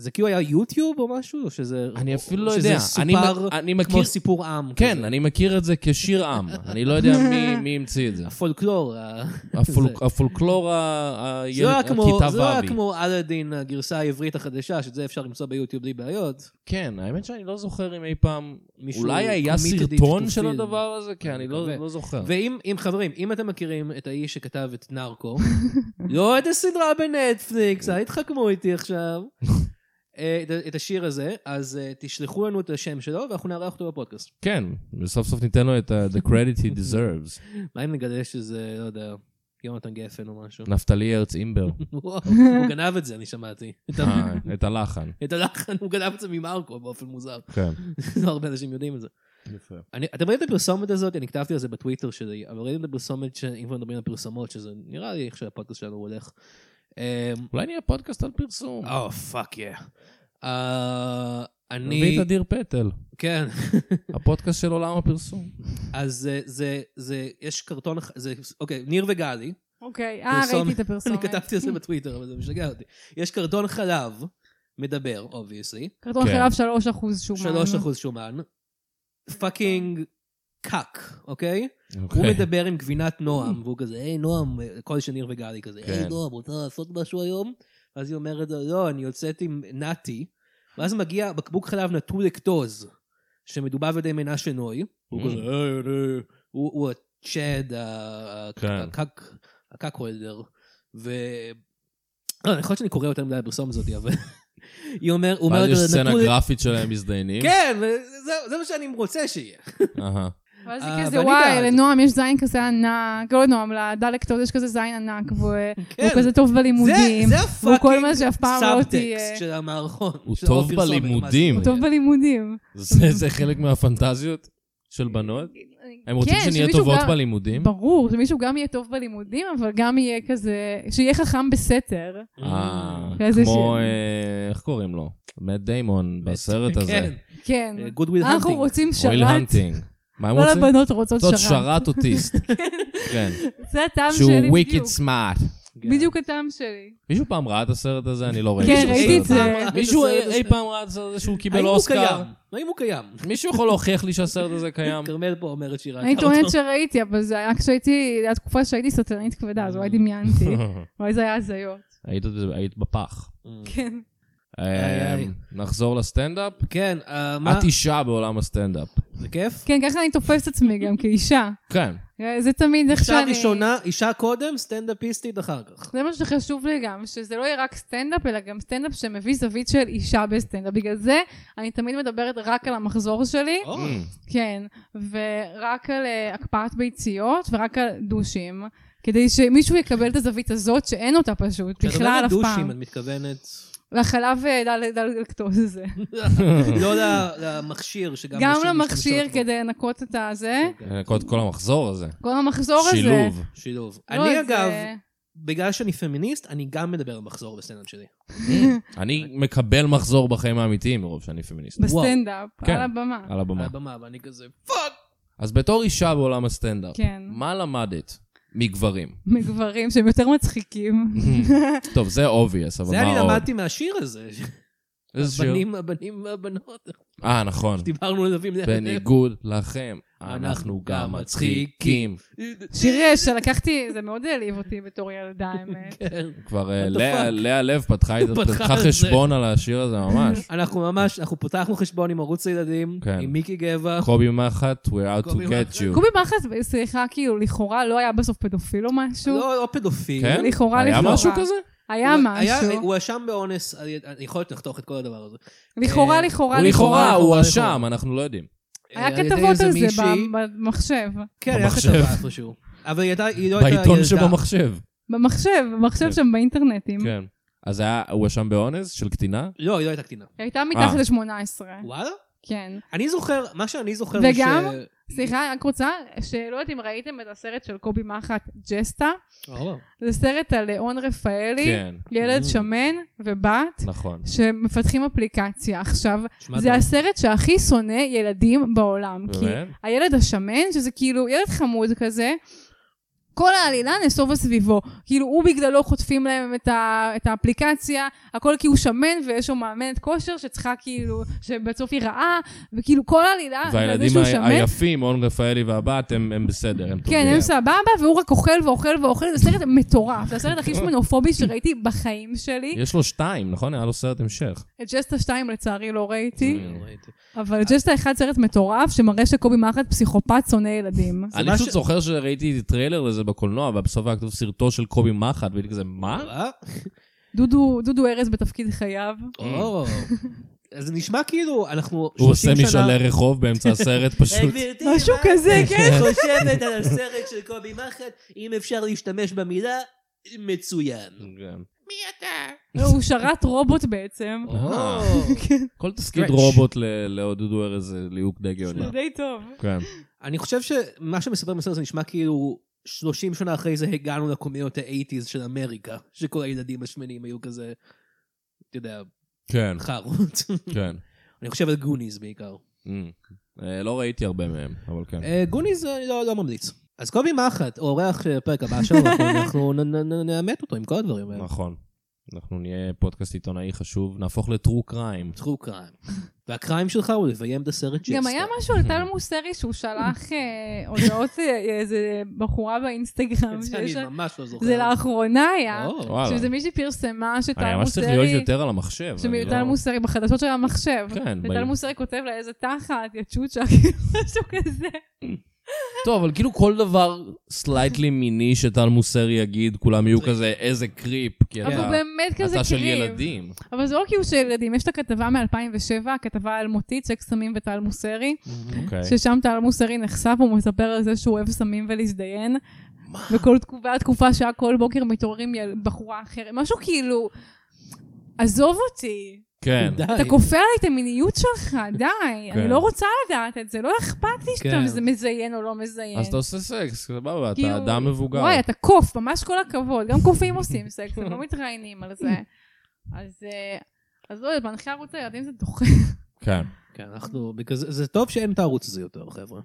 Speaker 3: זה כאילו היה יוטיוב או משהו? או שזה...
Speaker 2: אני אפילו לא
Speaker 3: או
Speaker 2: יודע.
Speaker 3: שזה
Speaker 2: אני מ-
Speaker 3: סופר
Speaker 2: אני
Speaker 3: כמו
Speaker 2: מכיר...
Speaker 3: סיפור עם.
Speaker 2: כן,
Speaker 3: כזה.
Speaker 2: אני מכיר את זה כשיר עם. אני לא יודע מי- מי המציא את זה.
Speaker 3: הפולקלור. ה-
Speaker 2: הפול- הפולקלור ה- ה-
Speaker 3: זה לא היה כמו-
Speaker 2: הכיתה
Speaker 3: זה לא
Speaker 2: ואבי.
Speaker 3: היה כמו אלאדין, הגרסה העברית החדשה, שאת זה אפשר למצוא ביוטיוב בלי בעיות.
Speaker 2: כן, האמת שאני לא זוכר אם אי פעם...
Speaker 3: מישהו
Speaker 2: אולי היה
Speaker 3: committed
Speaker 2: סרטון
Speaker 3: to
Speaker 2: של
Speaker 3: film.
Speaker 2: הדבר הזה? כן, אני לא
Speaker 3: מקווה.
Speaker 2: לא זוכר.
Speaker 3: ואם, אם חברים, אם אתם מכירים את האיש שכתב את נרקו, לא את הסדרה בנטפליקס, אל תתחכמו איתי עכשיו, אה, את ה- את השיר הזה, אז אה, תשלחו לנו את השם שלו ואנחנו נארח אותו בפודקאסט.
Speaker 2: כן, וסוף סוף ניתן לו את ה- the credit he deserves.
Speaker 3: מה אם נגלה שזה, לא יודע, יונתן גפן או משהו?
Speaker 2: נפתלי הרץ אימבר.
Speaker 3: וואו, הוא גנב את זה, אני שמעתי. את ה-
Speaker 2: אה, את הלחן.
Speaker 3: את הלחן, הוא גנב את זה ממרקו באופן מוזר.
Speaker 2: כן.
Speaker 3: לא הרבה אנשים יודעים את זה.
Speaker 2: יפה.
Speaker 3: אני, אתם ראיתם את הפרסומת הזאת? אני כתבתי על זה בטוויטר שלי, אבל ראיתם את הפרסומת, ש- אם כבר מדברים על פרסומות, שזה נראה לי איך שהפודקאסט שלנו הולך. אה,
Speaker 2: אולי נהיה פודקאסט על פרסום.
Speaker 3: או, פאק יא. אה,
Speaker 2: נביא
Speaker 3: אני...
Speaker 2: את אדיר פטל,
Speaker 3: כן.
Speaker 2: הפודקאסט של עולם הפרסום.
Speaker 3: אז זה, זה, זה, יש קרטון, אח- זה, אוקיי, ניר וגלי,
Speaker 4: אוקיי, אה,
Speaker 3: פרסומת.
Speaker 4: ראיתי את
Speaker 3: אני
Speaker 4: הפרסומת.
Speaker 3: כתבתי על זה בטוויטר, אבל זה משגע אותי. יש קרטון חלב, מדבר, אובייסלי,
Speaker 4: קרטון
Speaker 2: כן.
Speaker 4: חלב 3% שומן.
Speaker 3: 3% שומן, פאקינג קאק, אוקיי? הוא
Speaker 2: אוקיי.
Speaker 3: מדבר עם גבינת נועם, והוא כזה, היי נועם, קול של ניר וגלי כזה, היי
Speaker 2: כן.
Speaker 3: נועם, רוצה לעשות משהו היום? ואז היא אומרת לו, לא, אני יוצאת עם נתי. ואז מגיע בקבוק חלב נטול לקטוז, שמדובר על ידי מנשה נוי. הוא
Speaker 2: Mm.
Speaker 3: כזה, היי, אני... הוא הוא הצ'ד, ה- ה-
Speaker 2: כן.
Speaker 3: הקק- הקק הולדר. ו... לא, יכול להיות שאני קורא יותר מדי הפרסומת הזאת, אבל... היא אומר, הוא אומר...
Speaker 2: ואז יש
Speaker 3: "נתנו
Speaker 2: סצנה
Speaker 3: לי-"
Speaker 2: גרפית שלהם מזדיינים.
Speaker 3: כן, וזה- זה מה שאני רוצה שיהיה.
Speaker 2: אהה.
Speaker 4: ואז
Speaker 3: אה,
Speaker 4: היא כזה,
Speaker 3: ואני בעד."
Speaker 4: וואי, לנועם יש זין כזה ענק, לא לנועם, לדלקטור יש כזה זין ענק, והוא והוא כזה טוב
Speaker 3: כן.
Speaker 4: בלימודים.
Speaker 3: זה
Speaker 4: והוא כל
Speaker 3: הפאקינג
Speaker 4: מה שאף פעם לא
Speaker 3: סאבטקסט
Speaker 4: תהיה.
Speaker 3: של המערכון.
Speaker 2: הוא
Speaker 3: של
Speaker 2: טוב
Speaker 3: אופיר סומר,
Speaker 2: בלימודים.
Speaker 3: מה
Speaker 4: הוא
Speaker 3: זה?
Speaker 4: טוב בלימודים.
Speaker 2: זה זה חלק מהפנטזיות של בנות? לא? הם רוצים
Speaker 4: כן,
Speaker 2: שנהיה
Speaker 4: שמישהו
Speaker 2: טובות
Speaker 4: גם-
Speaker 2: בלימודים?
Speaker 4: ברור, שמישהו גם יהיה טוב בלימודים, אבל גם יהיה כזה, שיהיה חכם בסתר.
Speaker 2: אה,
Speaker 3: כן,
Speaker 4: כזה
Speaker 2: כמו,
Speaker 4: ש-
Speaker 2: אה, איך קוראים לו? מאט דיימון בסרט הזה.
Speaker 3: כן,
Speaker 4: כן.
Speaker 2: אה,
Speaker 3: גוד וויל
Speaker 4: אנחנו
Speaker 3: הנטינג.
Speaker 4: רוצים
Speaker 2: וויל
Speaker 4: שרת.
Speaker 2: הנטינג. מה הם
Speaker 3: לא,
Speaker 4: כל
Speaker 2: רוצים?
Speaker 4: הבנות רוצות
Speaker 2: לעשות
Speaker 4: שרת.
Speaker 2: שרת אוטיסט. כן.
Speaker 4: זה הטעם שלי
Speaker 2: שהוא כן.
Speaker 4: בדיוק.
Speaker 2: וויקד סמארט.
Speaker 3: כן.
Speaker 4: בדיוק הטעם שלי.
Speaker 2: מישהו פעם ראה את הסרט הזה? אני לא ראיתי
Speaker 4: כן,
Speaker 2: את
Speaker 4: ראיתי את
Speaker 2: הסרט הזה.
Speaker 4: זה.
Speaker 2: מישהו
Speaker 3: את הסרט
Speaker 2: אי- אי
Speaker 3: הזה.
Speaker 2: פעם ראה את הסרט הזה שהוא קיבל
Speaker 3: אה, האם הוא
Speaker 2: אוסקר?
Speaker 3: קיים? האם הוא קיים?
Speaker 2: מישהו יכול להוכיח לי שהסרט הזה קיים?
Speaker 3: כרמל פה אומרת שהיא ראתה
Speaker 4: אני
Speaker 3: אותו.
Speaker 4: טוענת שראיתי, אבל זה היה כשהייתי, זו התקופה שהייתי סטרנית כבדה, אז
Speaker 2: אה.
Speaker 4: אולי דמיינתי. אולי זה היה הזיות.
Speaker 2: היית בזה- היית בפח.
Speaker 4: כן.
Speaker 2: אה,
Speaker 3: איי.
Speaker 2: נחזור לסטנדאפ?
Speaker 3: כן, אה, מה?
Speaker 2: את אישה בעולם הסטנדאפ.
Speaker 3: זה כיף?
Speaker 4: כן, ככה אני תופסת עצמי גם כאישה. אה,
Speaker 2: כן.
Speaker 4: זה תמיד איך שאני...
Speaker 3: אישה ראשונה, אישה קודם, סטנדאפיסטית אחר כך.
Speaker 4: זה מה שחשוב לי גם, שזה לא יהיה רק סטנדאפ, אלא גם סטנדאפ שמביא זווית של אישה בסטנדאפ. בגלל זה אני תמיד מדברת רק על המחזור שלי,
Speaker 3: או,
Speaker 4: כן, ורק על אה, הקפאת ביציות ורק על דושים, כדי שמישהו יקבל את הזווית הזאת שאין אותה פשוט,
Speaker 3: כשאת
Speaker 4: בכלל
Speaker 3: אומרת
Speaker 4: אף
Speaker 3: דושים,
Speaker 4: פעם.
Speaker 3: את מתכוונת...
Speaker 4: לחלב אה, דל- דלקטוז הזה.
Speaker 3: לא ל- למכשיר שגם
Speaker 4: גם
Speaker 3: נשים
Speaker 4: למכשיר
Speaker 3: משתמשות
Speaker 4: כדי לנקות את הזה,
Speaker 3: בו.
Speaker 2: לנקות אה, כל המחזור הזה.
Speaker 4: כל המחזור הזה.
Speaker 2: שילוב.
Speaker 3: שילוב.
Speaker 4: לא,
Speaker 3: אני
Speaker 4: זה-
Speaker 3: אגב, בגלל שאני פמיניסט, אני גם מדבר על מחזור בסטנדאפ שלי.
Speaker 2: אני מקבל מחזור בחיים האמיתיים מרוב שאני פמיניסט.
Speaker 4: בסטנדאפ,
Speaker 2: כן.
Speaker 4: על הבמה.
Speaker 2: על
Speaker 3: על
Speaker 2: הבמה.
Speaker 3: הבמה, ואני כזה, פאק!
Speaker 2: אז בתור אישה בעולם הסטנדאפ,
Speaker 4: כן.
Speaker 2: מה למדת מגברים?
Speaker 4: מגברים שהם יותר מצחיקים.
Speaker 2: טוב, זה obvious, אבל
Speaker 3: זה אני
Speaker 2: מה עוד?
Speaker 3: למדתי מהשיר הזה.
Speaker 2: איזה שיר?
Speaker 3: הבנים, הבנים והבנות.
Speaker 2: אה, נכון.
Speaker 3: דיברנו על דברים.
Speaker 2: בניגוד לכם, אנחנו גם מצחיקים.
Speaker 4: שיר אה, שלקחתי, זה מאוד העליב אותי בתור ילדה, האמת.
Speaker 3: כן.
Speaker 2: כבר אה,
Speaker 3: What the
Speaker 2: לאה-
Speaker 3: fuck?
Speaker 2: לאה לב פתחה את-
Speaker 3: פתחה
Speaker 2: פתחה
Speaker 3: את זה.
Speaker 2: חשבון על השיר הזה ממש.
Speaker 3: אנחנו ממש, אנחנו פתחנו חשבון עם ערוץ הילדים,
Speaker 2: כן.
Speaker 3: עם מיקי גבע.
Speaker 2: קובי מחט, we're out to
Speaker 3: קובי
Speaker 2: get
Speaker 3: מחט.
Speaker 2: you.
Speaker 4: קובי מחט, סליחה, כאילו, לכאורה לא היה בסוף פדופיל או משהו?
Speaker 3: לא, לא פדופיל.
Speaker 2: כן?
Speaker 4: לכאורה,
Speaker 2: היה
Speaker 4: לכאורה.
Speaker 2: משהו כזה?
Speaker 4: היה
Speaker 3: הוא- לא, היה-
Speaker 4: משהו.
Speaker 3: הוא אשם באונס, אני אני יכול להיות לחתוך את כל הדבר הזה.
Speaker 4: לכאורה,
Speaker 3: אה,
Speaker 4: לכאורה,
Speaker 2: הוא לכאורה,
Speaker 4: לכאורה.
Speaker 2: הוא
Speaker 3: לכאורה.
Speaker 2: אשם, אנחנו לא יודעים.
Speaker 4: היה
Speaker 3: אה, על ידי
Speaker 4: כתבות
Speaker 3: איזה
Speaker 4: על זה
Speaker 3: מישהי.
Speaker 4: ב- במחשב.
Speaker 3: כן, היה
Speaker 2: במחשב.
Speaker 3: כתבה איפשהו. אבל היא הייתה- היא לא הייתה ילדה.
Speaker 2: בעיתון שבמחשב.
Speaker 4: במחשב, במחשב
Speaker 2: כן.
Speaker 4: שם באינטרנטים.
Speaker 2: כן. אז היה- הוא אשם באונס של קטינה?
Speaker 3: לא, היא לא הייתה קטינה.
Speaker 4: היא הייתה מתחת
Speaker 2: אה.
Speaker 4: ל-18,
Speaker 3: וואלה?
Speaker 4: כן.
Speaker 3: אני זוכר, מה שאני זוכר הוא
Speaker 4: וגם-
Speaker 3: ש...
Speaker 4: סליחה, אני רק רוצה, שלא יודעת אם ראיתם את הסרט של קובי מחט, ג'סטה.
Speaker 3: או,
Speaker 4: זה סרט על ליאון רפאלי,
Speaker 2: כן,
Speaker 4: ילד
Speaker 3: Mm.
Speaker 4: שמן ובת,
Speaker 2: נכון.
Speaker 4: שמפתחים אפליקציה. עכשיו,
Speaker 3: שמע
Speaker 4: זה
Speaker 3: טוב.
Speaker 4: הסרט שהכי שונא ילדים בעולם. כי
Speaker 2: באמת?
Speaker 4: הילד השמן, שזה כאילו ילד חמוד כזה, כל העלילה נסובה סביבו. כאילו, הוא בגללו חוטפים להם את, ה, את האפליקציה, הכל כי הוא שמן ויש לו מאמנת כושר שצריכה כאילו, שבסוף היא רעה, וכאילו כל העלילה,
Speaker 3: אה,
Speaker 4: זה זה
Speaker 2: והילדים
Speaker 4: שהוא
Speaker 2: ה-
Speaker 4: שמן.
Speaker 2: היפים, און רפאלי והבת, הם הם בסדר, הם טובים.
Speaker 4: כן, הם סבבה, והוא רק אוכל ואוכל ואוכל, זה סרט מטורף, זה הסרט הכי שמנופובי שראיתי בחיים שלי.
Speaker 2: יש לו שתיים, נכון? היה לו סרט המשך.
Speaker 4: את ג'סטה 2 לצערי לא ראיתי,
Speaker 3: אני לא ראיתי.
Speaker 4: אבל ג'סטה 1 סרט מטורף, שמראה שקובי מחט פסיכופת שונא ילדים.
Speaker 2: אני
Speaker 3: מה
Speaker 2: פשוט
Speaker 3: ש-
Speaker 2: זוכר שראיתי טריילר לזה בקולנוע, ובסוף היה כתוב סרטו של קובי מחט, והייתי כזה, מה?
Speaker 3: אה?
Speaker 4: דודו דודו ארז בתפקיד חייו.
Speaker 3: או. אז זה נשמע כאילו, אנחנו 30 שנה...
Speaker 2: הוא עושה משאלי רחוב באמצע הסרט פשוט.
Speaker 3: גברתי,
Speaker 4: משהו
Speaker 3: מה
Speaker 4: כזה,
Speaker 3: את
Speaker 4: כן.
Speaker 3: חושבת על הסרט של קובי מחט, אם אפשר להשתמש במילה, מצוין.
Speaker 2: כן.
Speaker 4: לא, אה, הוא שרת רובוט בעצם.
Speaker 2: אה. כל תסקיד
Speaker 3: Stretch.
Speaker 2: רובוט ל- לדודו ארז זה ליהוק די גאונה.
Speaker 4: זה די טוב.
Speaker 2: כן.
Speaker 3: אני חושב שמה שמספר בסרט זה נשמע כאילו 30 שנה אחרי זה הגענו לקומיות ה-80's של אמריקה, שכל הילדים השמנים היו כזה, אתה יודע,
Speaker 2: כן,
Speaker 3: חרות.
Speaker 2: כן.
Speaker 3: אני חושב על גוניז בעיקר.
Speaker 2: אמ. אה, לא ראיתי הרבה מהם, אבל כן.
Speaker 3: אה, גוניז אה, לא לא ממליץ. אז קובי מחט, הוא אורח של הפרק הבא שלנו, אנחנו- אנחנו נ- נ- נ- נעמת אותו עם כל הדברים האלה.
Speaker 2: נכון. אנחנו נהיה פודקאסט עיתונאי חשוב, נהפוך לטרו קריים.
Speaker 3: טרו קריים. והקריים שלך הוא לביים את הסרט ג'סטה.
Speaker 4: גם היה משהו על טל מוסרי שהוא שלח אה, הודעות לאיזה בחורה באינסטגרם
Speaker 3: את זה
Speaker 4: שיש
Speaker 3: אני
Speaker 4: לה.
Speaker 3: ממש לא זוכר.
Speaker 4: זה לאחרונה היה.
Speaker 3: או.
Speaker 2: וואלה.
Speaker 4: שזה מישהי פרסמה
Speaker 2: אני
Speaker 4: שטל
Speaker 2: ממש צריך להיות
Speaker 4: מוסרי,
Speaker 2: יותר על המחשב. אני
Speaker 4: שטל
Speaker 2: לא-
Speaker 4: מוסרי בחדשות של המחשב.
Speaker 2: כן,
Speaker 4: וטל
Speaker 2: ב-
Speaker 4: מוסרי כותב לה איזה תחת, יא צ'וצ'ה, כאילו משהו כזה.
Speaker 2: טוב, אבל כאילו כל דבר סלייטלי מיני שטל מוסר יגיד, כולם יהיו כזה, איזה קריפ, כי
Speaker 4: אבל הוא
Speaker 2: אתה...
Speaker 4: באמת כזה
Speaker 2: אתה כן, של
Speaker 4: קריב.
Speaker 2: ילדים.
Speaker 4: אבל זה לא כאילו של ילדים, יש את הכתבה מ-2007, הכתבה האלמותית, סקס סמים וטל מוסרי,
Speaker 2: אוקיי.
Speaker 4: ששם טל מוסרי נחשף, הוא מספר על זה שהוא אוהב סמים ולהזדיין. וכל תקופה, תקופה שעה כל בוקר מתעוררים יל- בחורה אחרת, משהו כאילו, עזוב אותי.
Speaker 2: כן.
Speaker 3: די.
Speaker 4: אתה כופה עליי את המיניות שלך, די.
Speaker 2: כן.
Speaker 4: אני לא רוצה לדעת את זה, לא אכפת לי
Speaker 3: כן.
Speaker 4: שאתה זה מזיין או לא מזיין.
Speaker 2: אז אתה עושה סקס, סבבה,
Speaker 4: כאילו,
Speaker 2: אתה אדם מבוגר.
Speaker 4: וואי, אתה קוף, ממש כל הכבוד. גם קופים עושים סקס, הם לא מתראיינים על זה. אז אה, אז לא יודעת, בהנחייה ערוץ הילדים זה דוחה.
Speaker 2: כן,
Speaker 3: כן, אנחנו, בגלל זה זה טוב שאין את הערוץ הזה יותר, חבר'ה.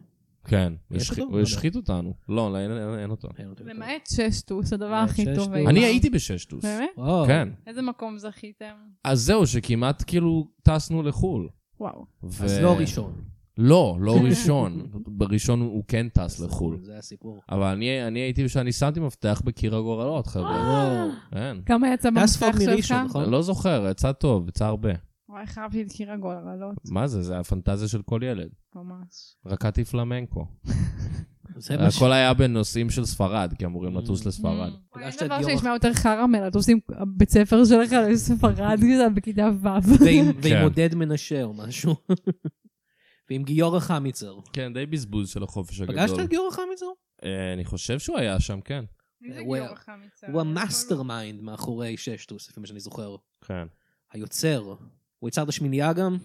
Speaker 2: כן.
Speaker 3: יש
Speaker 2: השחי-
Speaker 3: אותו?
Speaker 2: הוא השחית אותנו. לא, לא, אין- אין- אין אותו.
Speaker 3: אין אותו יותר.
Speaker 4: למעט ששטוס, הדבר
Speaker 3: למעט
Speaker 4: הכי
Speaker 3: ששטוס.
Speaker 4: טוב. אי
Speaker 2: אני
Speaker 4: פעם.
Speaker 2: הייתי בששטוס.
Speaker 4: באמת?
Speaker 3: וואו.
Speaker 2: כן.
Speaker 4: איזה מקום זכיתם?
Speaker 2: אז זהו, שכמעט כאילו טסנו לחו"ל.
Speaker 4: וואו.
Speaker 2: ו-
Speaker 3: אז לא ראשון.
Speaker 2: לא, לא ראשון. בראשון הוא כן טס לחו"ל.
Speaker 3: זה הסיפור.
Speaker 2: אבל אני, אני הייתי שאני שמתי מפתח בקיר הגורלות, חבר'ה.
Speaker 4: אה.
Speaker 3: וואו.
Speaker 2: כן.
Speaker 4: כמה יצא
Speaker 3: טס
Speaker 4: במפתח
Speaker 3: פאק
Speaker 4: שלך?
Speaker 3: מראשון, נכון?
Speaker 2: לא זוכר, יצא טוב, יצא הרבה.
Speaker 4: וואי, חייבתי את קיר הגולרלות,
Speaker 2: מה זה, זה הפנטזיה של כל ילד.
Speaker 4: ממש.
Speaker 2: רקדתי פלמנקו.
Speaker 3: זה מה ש...
Speaker 2: הכל היה בנושאים של ספרד, כי אמורים לטוס לספרד.
Speaker 4: Mm. וואי,
Speaker 3: פגשת
Speaker 4: אין
Speaker 3: את
Speaker 4: דבר
Speaker 3: גיורא.
Speaker 4: שנשמע יותר חרא מלטוס עם בית ספר שלך לספרד כזה בכיתה ו'.
Speaker 3: ועם- ועם
Speaker 2: כן.
Speaker 3: עודד מנשה או משהו. ועם גיורא חמיצר.
Speaker 2: כן, די בזבוז של החופש הגדול.
Speaker 3: פגשת את גיורא חמיצר?
Speaker 2: אה, אני חושב שהוא היה שם, כן.
Speaker 4: מי זה
Speaker 3: הוא
Speaker 4: גיורא
Speaker 3: ה-
Speaker 4: חמיצר?
Speaker 3: הוא המאסטר מיינד מאחורי ששטוס, לפי מה שאני זוכר.
Speaker 2: כן.
Speaker 3: היוצר. הוא יצר את השמינייה גם?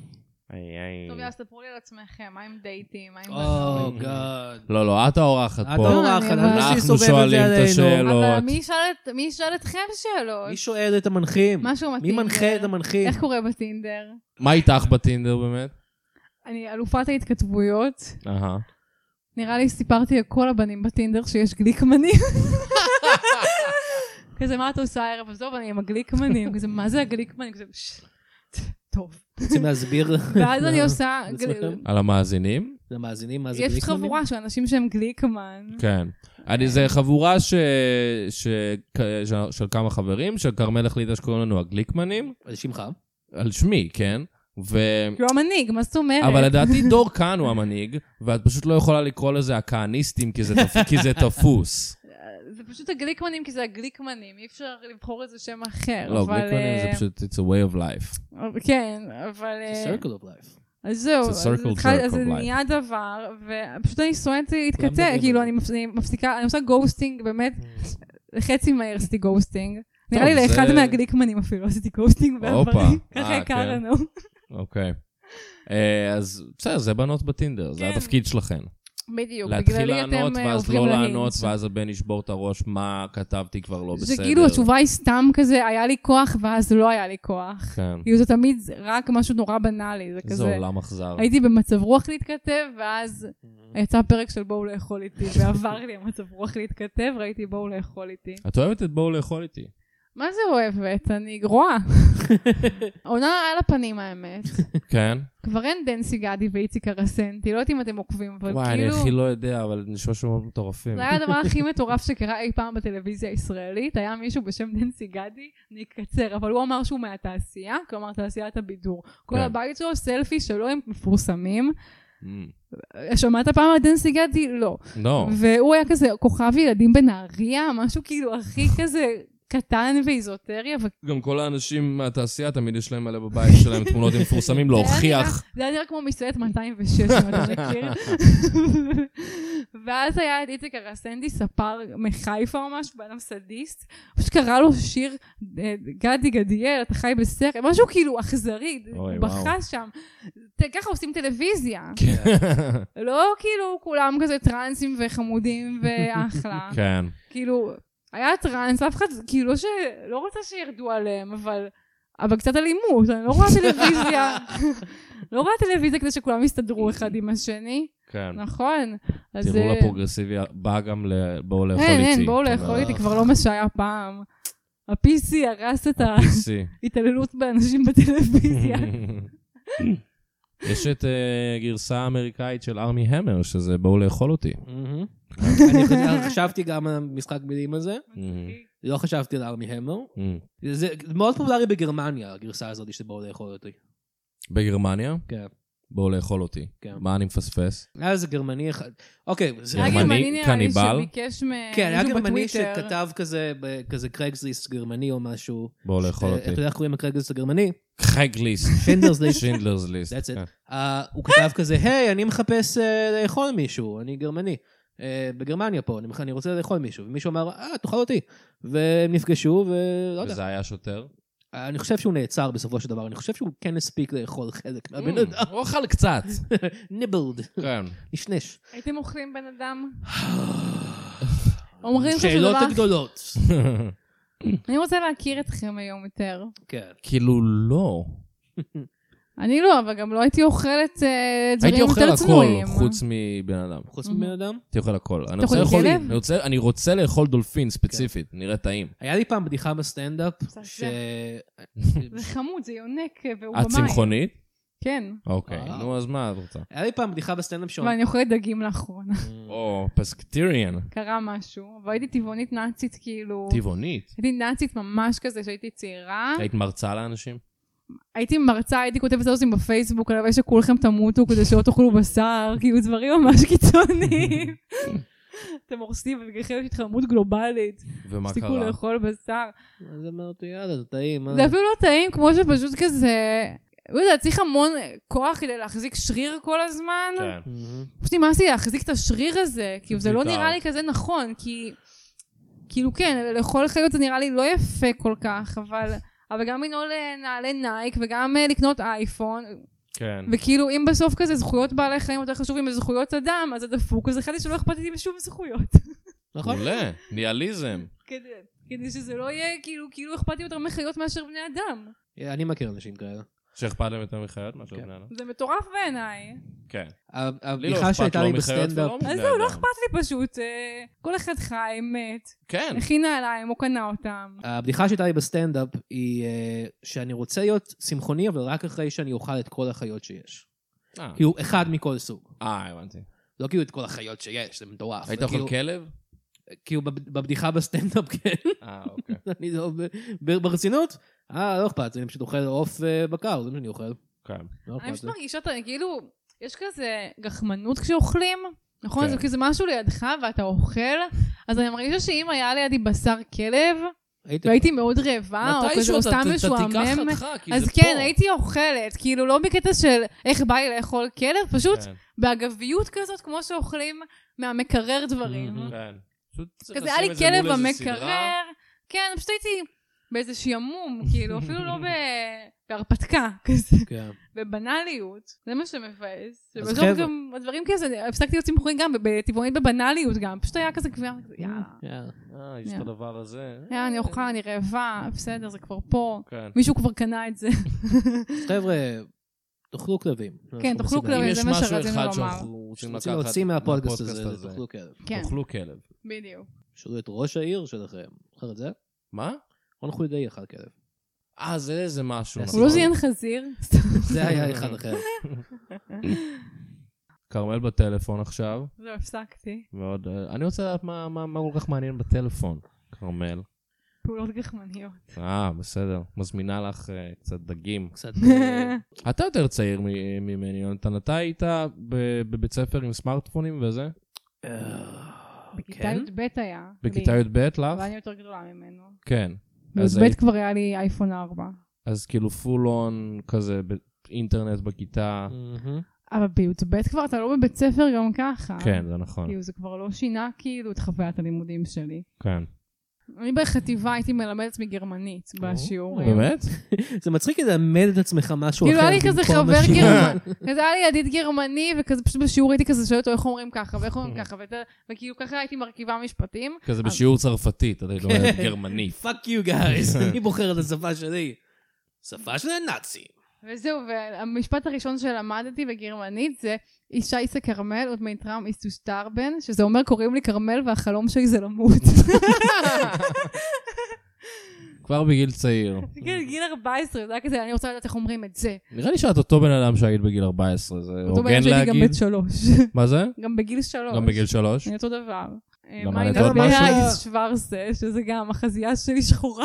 Speaker 4: טוב, יאללה, ספרו לי על עצמכם, מה עם דייטים?
Speaker 3: Oh, אה,
Speaker 4: מה עם...
Speaker 3: או,
Speaker 4: בנות?
Speaker 3: גאד.
Speaker 2: לא, לא, את האורחת
Speaker 3: את
Speaker 2: פה.
Speaker 3: אורחת,
Speaker 4: אני
Speaker 3: אל
Speaker 2: אנחנו
Speaker 3: תסובב את
Speaker 2: שואלים
Speaker 3: זה
Speaker 2: את
Speaker 3: עלינו.
Speaker 2: השאלות.
Speaker 4: אבל מי ישאל את- מי ישאל אתכם שאלות?
Speaker 3: מי שואל את המנחים?
Speaker 4: משהו
Speaker 3: מי
Speaker 4: בטינדר.
Speaker 3: מנחה את המנחים?
Speaker 4: אה, איך קורה בטינדר?
Speaker 2: מה איתך בטינדר באמת?
Speaker 4: אני אלופת ההתכתבויות.
Speaker 2: אהה.
Speaker 4: נראה לי סיפרתי לכל הבנים בטינדר שיש גליקמנים. כזה, מה את עושה הערב? עזוב, אני עם הגליקמנים. כזה, מה זה הגליקמנים? כזה, "ש- טוב.
Speaker 3: רוצים להסביר
Speaker 4: ואז
Speaker 2: אה,
Speaker 4: אני עושה...
Speaker 3: לעצמכם?
Speaker 2: על המאזינים?
Speaker 3: למאזינים מה זה
Speaker 4: יש
Speaker 3: גליקמנים?
Speaker 4: חבורה של אנשים שהם גליקמן.
Speaker 3: Mm.
Speaker 2: כן. אני, זה חבורה ש... ש... ש... של כמה חברים, שכרמל החליטה שקוראים לנו הגליקמנים,
Speaker 3: על שמך.
Speaker 2: על שמי, כן? ו...
Speaker 4: כאילו, המנהיג, מה זאת
Speaker 3: כן.
Speaker 4: אומרת?
Speaker 2: אבל לדעתי דור כאן הוא המנהיג, ואת פשוט לא יכולה לקרוא לזה הכהניסטים, כי זה, תפ... כי זה תפוס.
Speaker 4: זה פשוט הגליקמנים, כי זה הגליקמנים, אי אפשר לבחור איזה שם אחר.
Speaker 2: לא,
Speaker 4: אבל,
Speaker 2: גליקמנים זה
Speaker 4: אה,
Speaker 2: פשוט, it's a way of life.
Speaker 4: אבל- כן, אבל... אה,
Speaker 3: זה circle of life.
Speaker 4: אז זהו,
Speaker 2: It's a
Speaker 4: אז
Speaker 2: circle
Speaker 4: התחל-
Speaker 2: jerk
Speaker 4: אז זה
Speaker 2: of life.
Speaker 4: נהיה דבר, ופשוט אני שונאת להתקטע,
Speaker 3: מדברים
Speaker 4: כאילו
Speaker 3: על
Speaker 4: אני מפס- אני מפסיקה, אני עושה גוסטינג, באמת, לחצי מהר עשיתי גוסטינג. נראה לי
Speaker 2: Mm. זה-
Speaker 4: לאחד מהגליקמנים אפילו עשיתי גוסטינג
Speaker 2: הופה.
Speaker 4: בעברי, ככה
Speaker 2: אה, כן.
Speaker 4: יקר לנו.
Speaker 2: אוקיי. אה, אז בסדר, זה בנות בטינדר, זה
Speaker 4: כן.
Speaker 2: התפקיד שלכן.
Speaker 4: בדיוק,
Speaker 2: להתחיל
Speaker 4: בגללי
Speaker 2: לענות,
Speaker 4: אתם אה,
Speaker 2: ואז
Speaker 4: עוברים
Speaker 2: לא
Speaker 4: להינט.
Speaker 2: לענות, ואז הבן ישבור את הראש, מה כתבתי כבר לא בסדר.
Speaker 4: זה כאילו התשובה היא סתם כזה, היה לי כוח, ואז לא היה לי כוח.
Speaker 2: כן.
Speaker 4: כאילו זה תמיד רק משהו נורא בנאלי, זה
Speaker 2: איזה
Speaker 4: כזה.
Speaker 2: עולם אכזר.
Speaker 4: הייתי במצב רוח להתכתב, ואז
Speaker 2: Mm-hmm.
Speaker 4: יצא פרק של בואו לאכול איתי, ועבר לי המצב רוח להתכתב, ראיתי בואו לאכול איתי.
Speaker 2: את אוהבת את בואו לאכול איתי.
Speaker 4: מה זה אוהבת? אני גרועה. עונה על הפנים האמת.
Speaker 2: כן?
Speaker 4: כבר אין דנסי גדי ואיציק הרסנטי, לא יודעת אם אתם עוקבים, אבל
Speaker 2: וואי, אני
Speaker 4: כאילו...
Speaker 2: הכי לא יודע, אבל נשמע שהם מאוד מטורפים.
Speaker 4: זה היה הדבר הכי מטורף שקרה אי פעם בטלוויזיה הישראלית, היה מישהו בשם דנסי גדי, אני אקצר, אבל הוא אמר שהוא מהתעשייה, כלומר תעשיית הבידור. כל
Speaker 2: כן.
Speaker 4: הבית שלו, סלפי שלו הם מפורסמים.
Speaker 2: אמ,
Speaker 4: שמעת פעם על דנסי גדי? לא.
Speaker 2: לא.
Speaker 4: והוא היה כזה כוכב ילדים בנהריה, משהו כאילו הכי כזה קטן ואיזוטרי, אבל
Speaker 2: גם כל האנשים מהתעשייה, תמיד יש להם מלא בבית שלהם תמונות עם מפורסמים להוכיח.
Speaker 4: זה היה נראה כמו מסעדת 206, אם אתה מכיר. ואז היה את איציק הרסנדי, ספר מחיפה או משהו, בן אדם סדיסט, פשוט קרא לו שיר אה, גדי גדיאל, אתה חי בסרט, משהו כאילו אכזרי,
Speaker 2: אוי,
Speaker 4: הוא
Speaker 2: וואו. כן.
Speaker 4: בכה שם. ת- ככה עושים טלוויזיה. לא כאילו כולם כזה טרנסים וחמודים ואחלה.
Speaker 2: כן.
Speaker 4: כאילו, היה טראנס, אף אחד, כאילו, לא ש... לא רוצה שירדו עליהם, אבל... אבל קצת אלימות, אני לא רואה טלוויזיה. לא רואה טלוויזיה כדי שכולם יסתדרו אחד עם השני,
Speaker 2: כן.
Speaker 4: נכון? אז...
Speaker 2: תראו
Speaker 4: אה,
Speaker 2: לפרוגרסיבי, בא גם ל- בואו לאכול איתי.
Speaker 4: אין, אין, בואו לאכול
Speaker 2: תודה.
Speaker 4: איתי, כבר לא מה שהיה פעם. ה-PC הרס את
Speaker 2: PC.
Speaker 4: ההתעללות באנשים בטלוויזיה. אה.
Speaker 2: יש את אה, גרסה אמריקאית של ארמי המר, שזה בואו לאכול אותי.
Speaker 3: מהמם. אני חשב- חשבתי גם על המשחק מילים הזה, לא חשבתי על ארמי המר.
Speaker 2: אמ,
Speaker 3: זה מאוד פופולרי בגרמניה, הגרסה הזאת שבאו לאכול אותי.
Speaker 2: בגרמניה?
Speaker 3: כן.
Speaker 2: בואו לאכול אותי.
Speaker 3: כן.
Speaker 2: מה אני מפספס?
Speaker 3: היה איזה גרמני אחד. אוקיי, זה...
Speaker 4: היה
Speaker 2: גרמני,
Speaker 4: גרמני נראה לי
Speaker 2: קניבל.
Speaker 4: שביקש מ-
Speaker 3: כן, היה
Speaker 4: אה, מישהו
Speaker 3: גרמני
Speaker 4: בטוויטר.
Speaker 3: שכתב כזה, ב- כזה קרייגסליסט גרמני או משהו.
Speaker 2: בואו לאכול
Speaker 3: אה,
Speaker 2: אותי.
Speaker 3: אתה יודע איך קוראים לקרייגסליסט הגרמני?
Speaker 2: חגליסט.
Speaker 3: פינדרס ליסט.
Speaker 2: שינדלר's ליסט.
Speaker 3: That's it. אה, הוא כתב כזה, היי, אני מחפש אה, לאכול מישהו, אני גרמני. אה, בגרמניה פה, אני- אני רוצה לאכול מישהו. ומישהו אמר, אה, תאכל אותי. והם נפגשו, ולא לא יודע.
Speaker 2: וזה היה שוטר?
Speaker 3: אה, אני חושב שהוא נעצר בסופו של דבר, אני חושב שהוא כן הספיק לאכול חלק מהבן אדם.
Speaker 2: הוא אכל קצת.
Speaker 3: ניבלד,
Speaker 2: Mm. כן.
Speaker 3: נשנש.
Speaker 4: הייתם אוכלים בן אדם? אומרים לך שזה
Speaker 3: שאלות
Speaker 4: דבר...
Speaker 3: הגדולות.
Speaker 4: אני רוצה להכיר אתכם היום יותר.
Speaker 3: כן.
Speaker 2: כאילו לא.
Speaker 4: אני לא, אבל גם לא הייתי אוכלת אה,
Speaker 2: הייתי
Speaker 4: דברים
Speaker 2: אוכל
Speaker 4: יותר צנועים. אה.
Speaker 2: הכל חוץ מבן אדם.
Speaker 3: חוץ
Speaker 4: Mhm.
Speaker 3: מבן אדם?
Speaker 2: הייתי אוכל הכל. אני
Speaker 4: אתה
Speaker 2: רוצה
Speaker 4: אוכל
Speaker 2: לאכול-
Speaker 4: כלב?
Speaker 2: אני רוצה- אני רוצה לאכול
Speaker 4: כן.
Speaker 2: דולפין ספציפית, נראה טעים.
Speaker 3: היה לי פעם בדיחה בסטנדאפ, ש...
Speaker 4: זה חמוד, זה יונק אה, והוא
Speaker 2: את
Speaker 4: במים.
Speaker 2: צמחונית?
Speaker 4: כן.
Speaker 2: אוקיי.
Speaker 3: אה.
Speaker 2: נו, אז מה את רוצה?
Speaker 3: היה לי פעם בדיחה בסטנדאפ
Speaker 4: אבל
Speaker 3: שאומרת...
Speaker 4: אני אוכלת דגים לאחרונה.
Speaker 2: או, פסקטיריאן.
Speaker 4: קרה משהו, אבל הייתי טבעונית נאצית, כאילו...
Speaker 2: טבעונית.
Speaker 4: הייתי נאצית ממש כזה, שהייתי צעירה.
Speaker 2: היית מרצה לאנשים?
Speaker 4: הייתי מרצה, הייתי כותבת סטטוסים בפייסבוק, הלוואי שכולכם תמותו כדי שלא תאכלו בשר, כאילו דברים ממש קיצוניים. אתם הורסים, בגלל חלק התחממות גלובלית.
Speaker 2: ומה
Speaker 4: תפסיקו
Speaker 2: קרה?
Speaker 4: לאכול בשר.
Speaker 3: אז אמרתי, יאללה, זה טעים. מה?"
Speaker 4: זה אפילו לא טעים, כמו שפשוט כזה... לא יודע, צריך המון כוח כדי להחזיק שריר כל הזמן.
Speaker 2: כן.
Speaker 3: Mhm.
Speaker 4: פשוט נמאס לי להחזיק את השריר הזה, כאילו זה לא
Speaker 2: בעיקר.
Speaker 4: נראה לי כזה נכון, כי... כאילו כן, לאכול חיות זה נראה לי לא יפה כל כך, אבל... אבל גם לנעול אה, נעלי נייק, וגם אה, לקנות אייפון,
Speaker 2: כן.
Speaker 4: וכאילו אם בסוף כזה זכויות בעלי חיים יותר חשובים מזכויות אדם, אז זה דפוק, אז החלטתי שלא אכפת לי משום זכויות.
Speaker 3: נכון?
Speaker 2: מעולה, ניאליזם.
Speaker 4: כדי, כדי שזה לא יהיה כאילו, כאילו אכפת לי יותר מחיות מאשר בני אדם.
Speaker 3: אני מכיר אנשים כאלה.
Speaker 2: שאכפת להם יותר מחיות מאשר
Speaker 3: כן.
Speaker 2: בני אדם?
Speaker 4: זה מטורף בעיניי.
Speaker 2: כן.
Speaker 3: ה-
Speaker 2: לי לא
Speaker 3: הבדיחה
Speaker 2: אכפת
Speaker 3: שהייתה
Speaker 2: לא
Speaker 3: לי
Speaker 2: מחיות
Speaker 3: בסטנדאפ...
Speaker 2: ולא מבני
Speaker 4: אז זהו, לא
Speaker 2: אדם.
Speaker 4: אכפת לי פשוט. אה, כל אחד חי, מת,
Speaker 2: כן.
Speaker 4: הכין נעליים או קנה אותם.
Speaker 3: הבדיחה שהייתה לי בסטנדאפ היא אה, שאני רוצה להיות צמחוני, אבל רק אחרי שאני אוכל את כל החיות שיש.
Speaker 2: אה,
Speaker 3: כאילו, אחד מכל סוג.
Speaker 2: אה, הבנתי.
Speaker 3: לא כאילו את כל החיות שיש, זה מטורף.
Speaker 2: היית
Speaker 3: זה
Speaker 2: אוכל
Speaker 3: כאילו-
Speaker 2: כלב?
Speaker 3: כאילו, בב- בבדיחה בסטנדאפ, כן.
Speaker 2: אה, אוקיי.
Speaker 3: אני לא... ב- ברצינות? אה, לא אכפת, אני פשוט אוכל עוף אה, בקר, זה מה שאני אוכל.
Speaker 2: כן.
Speaker 3: לא
Speaker 4: אני
Speaker 3: אכפת
Speaker 4: פשוט
Speaker 3: לי.
Speaker 4: מרגישה, אותה, כאילו, יש כזה גחמנות כשאוכלים, נכון?
Speaker 2: כן.
Speaker 4: זה כזה משהו לידך ואתה אוכל, אז אני מרגישה שאם היה לידי בשר כלב,
Speaker 3: הייתי...
Speaker 4: והייתי מאוד רעבה, או כזה, או לא סתם משועמם, אז כן, הייתי אוכלת, כאילו לא בקטע של איך בא לי לאכול כלב, פשוט
Speaker 2: כן.
Speaker 4: באגביות כזאת, כמו שאוכלים מהמקרר דברים.
Speaker 3: Mhm.
Speaker 2: כן. פשוט צריך
Speaker 4: כזה
Speaker 2: לשים
Speaker 4: היה לי
Speaker 2: את זה
Speaker 4: כלב
Speaker 2: מול איזה סדרה.
Speaker 4: במקרר, כן, פשוט הייתי באיזה שעמום, כאילו, אפילו לא ב- בהרפתקה, כזה.
Speaker 3: כן.
Speaker 4: בבנאליות, זה מה שמבאס.
Speaker 3: אז
Speaker 4: ובסוף
Speaker 3: חבר'ה-
Speaker 4: גם הדברים כזה, הפסקתי להיות צמחורים גם, בטבעונית בבנאליות גם, פשוט היה כזה קביעה,
Speaker 2: Mm.
Speaker 4: כזה, יאללה,
Speaker 3: יאללה.
Speaker 2: אה, יש את
Speaker 4: כן.
Speaker 2: הדבר הזה.
Speaker 4: יאללה, אני אוכל, אני רעבה, בסדר, זה כבר פה.
Speaker 2: כן.
Speaker 4: מישהו כבר קנה את זה.
Speaker 3: אז חבר'ה, תאכלו כלבים. אנחנו
Speaker 4: כן, תאכלו
Speaker 3: מסוגלים.
Speaker 4: כלבים.
Speaker 2: אם
Speaker 4: זה
Speaker 2: יש
Speaker 4: מה
Speaker 2: משהו
Speaker 4: שרצינו
Speaker 2: אחד
Speaker 4: לומר.
Speaker 2: שאנחנו רוצים
Speaker 3: אם
Speaker 2: לקחת
Speaker 3: רוצים להוציא מהפודקאסט הזה, תאכלו כלב.
Speaker 4: כן,
Speaker 2: תאכלו כלב.
Speaker 4: בדיוק.
Speaker 3: שאלו את ראש העיר שלכם, זוכר את זה?
Speaker 2: מה?
Speaker 3: רון חולדאי אכל כלב.
Speaker 2: אה, זה איזה משהו.
Speaker 3: הוא
Speaker 4: הוא לא
Speaker 2: נכון.
Speaker 4: זיין חזיר?
Speaker 3: זה היה אחד אחר.
Speaker 2: כרמל בטלפון עכשיו.
Speaker 4: זהו, הפסקתי.
Speaker 2: ועוד... אה, אני רוצה לדעת מה מה- מה כל כך מעניין בטלפון, כרמל.
Speaker 4: פעולות גחמניות.
Speaker 2: אה, בסדר. מזמינה לך אה, קצת דגים.
Speaker 3: קצת... אה,
Speaker 2: אתה יותר צעיר מ- ממני, יונתן. אתה היית ב- בבית ספר עם סמארטפונים וזה?
Speaker 3: אה,
Speaker 4: בכיתה
Speaker 3: כן?
Speaker 4: י"ב היה.
Speaker 2: בכיתה
Speaker 4: לי,
Speaker 2: י"ב לך?
Speaker 4: אבל אני יותר גדולה ממנו.
Speaker 2: כן. אז
Speaker 4: בי"ב
Speaker 2: היית-
Speaker 4: כבר היה לי אייפון 4.
Speaker 2: אז כאילו פול און כזה באינטרנט בכיתה.
Speaker 3: מהמם.
Speaker 4: אבל בי"ב כבר אתה לא בבית ספר גם ככה.
Speaker 2: כן, זה נכון.
Speaker 4: כאילו, זה כבר לא שינה כאילו את חוויית הלימודים שלי.
Speaker 2: כן.
Speaker 4: אני בחטיבה הייתי מלמד עצמי גרמנית בשיעורים.
Speaker 2: באמת?
Speaker 3: זה מצחיק ללמד את עצמך משהו אחר.
Speaker 4: כאילו היה לי כזה
Speaker 3: במקום
Speaker 4: חבר
Speaker 3: השיר.
Speaker 4: גרמני, כזה היה לי ידיד גרמני, וכזה פשוט בשיעור הייתי כזה שואלת אותו איך אומרים ככה, ואיך אומרים
Speaker 2: כן.
Speaker 4: ככה, ואת- וכאילו ככה הייתי מרכיבה משפטים.
Speaker 2: כזה בשיעור צרפתית, אתה יודע, גרמנית.
Speaker 3: פאק יו גייז, אני בוחר את השפה שלי. שפה של הנאצים.
Speaker 4: וזהו, והמשפט הראשון שלמדתי בגרמנית זה אישה איסה כרמל עוד מיתרם איסו שטרבן, שזה אומר קוראים לי כרמל והחלום שלי זה למות.
Speaker 2: כבר בגיל צעיר.
Speaker 4: כן, גיל 14, זה היה כזה, אני רוצה לדעת איך אומרים את זה.
Speaker 2: נראה לי שאת אותו בן אדם שהיית בגיל 14, זה
Speaker 4: אותו בן
Speaker 2: הוגן
Speaker 4: אדם שהייתי גם
Speaker 2: להגיד.
Speaker 4: בית שלוש.
Speaker 2: מה זה?
Speaker 4: גם בגיל שלוש. כן.
Speaker 2: גם בגיל 3?
Speaker 4: אני אותו דבר. אה,
Speaker 2: גם
Speaker 4: מה
Speaker 2: אני
Speaker 4: עם
Speaker 2: אותו
Speaker 3: דבר.
Speaker 4: דברה שוורסה, שזה גם החזייה שלי שחורה.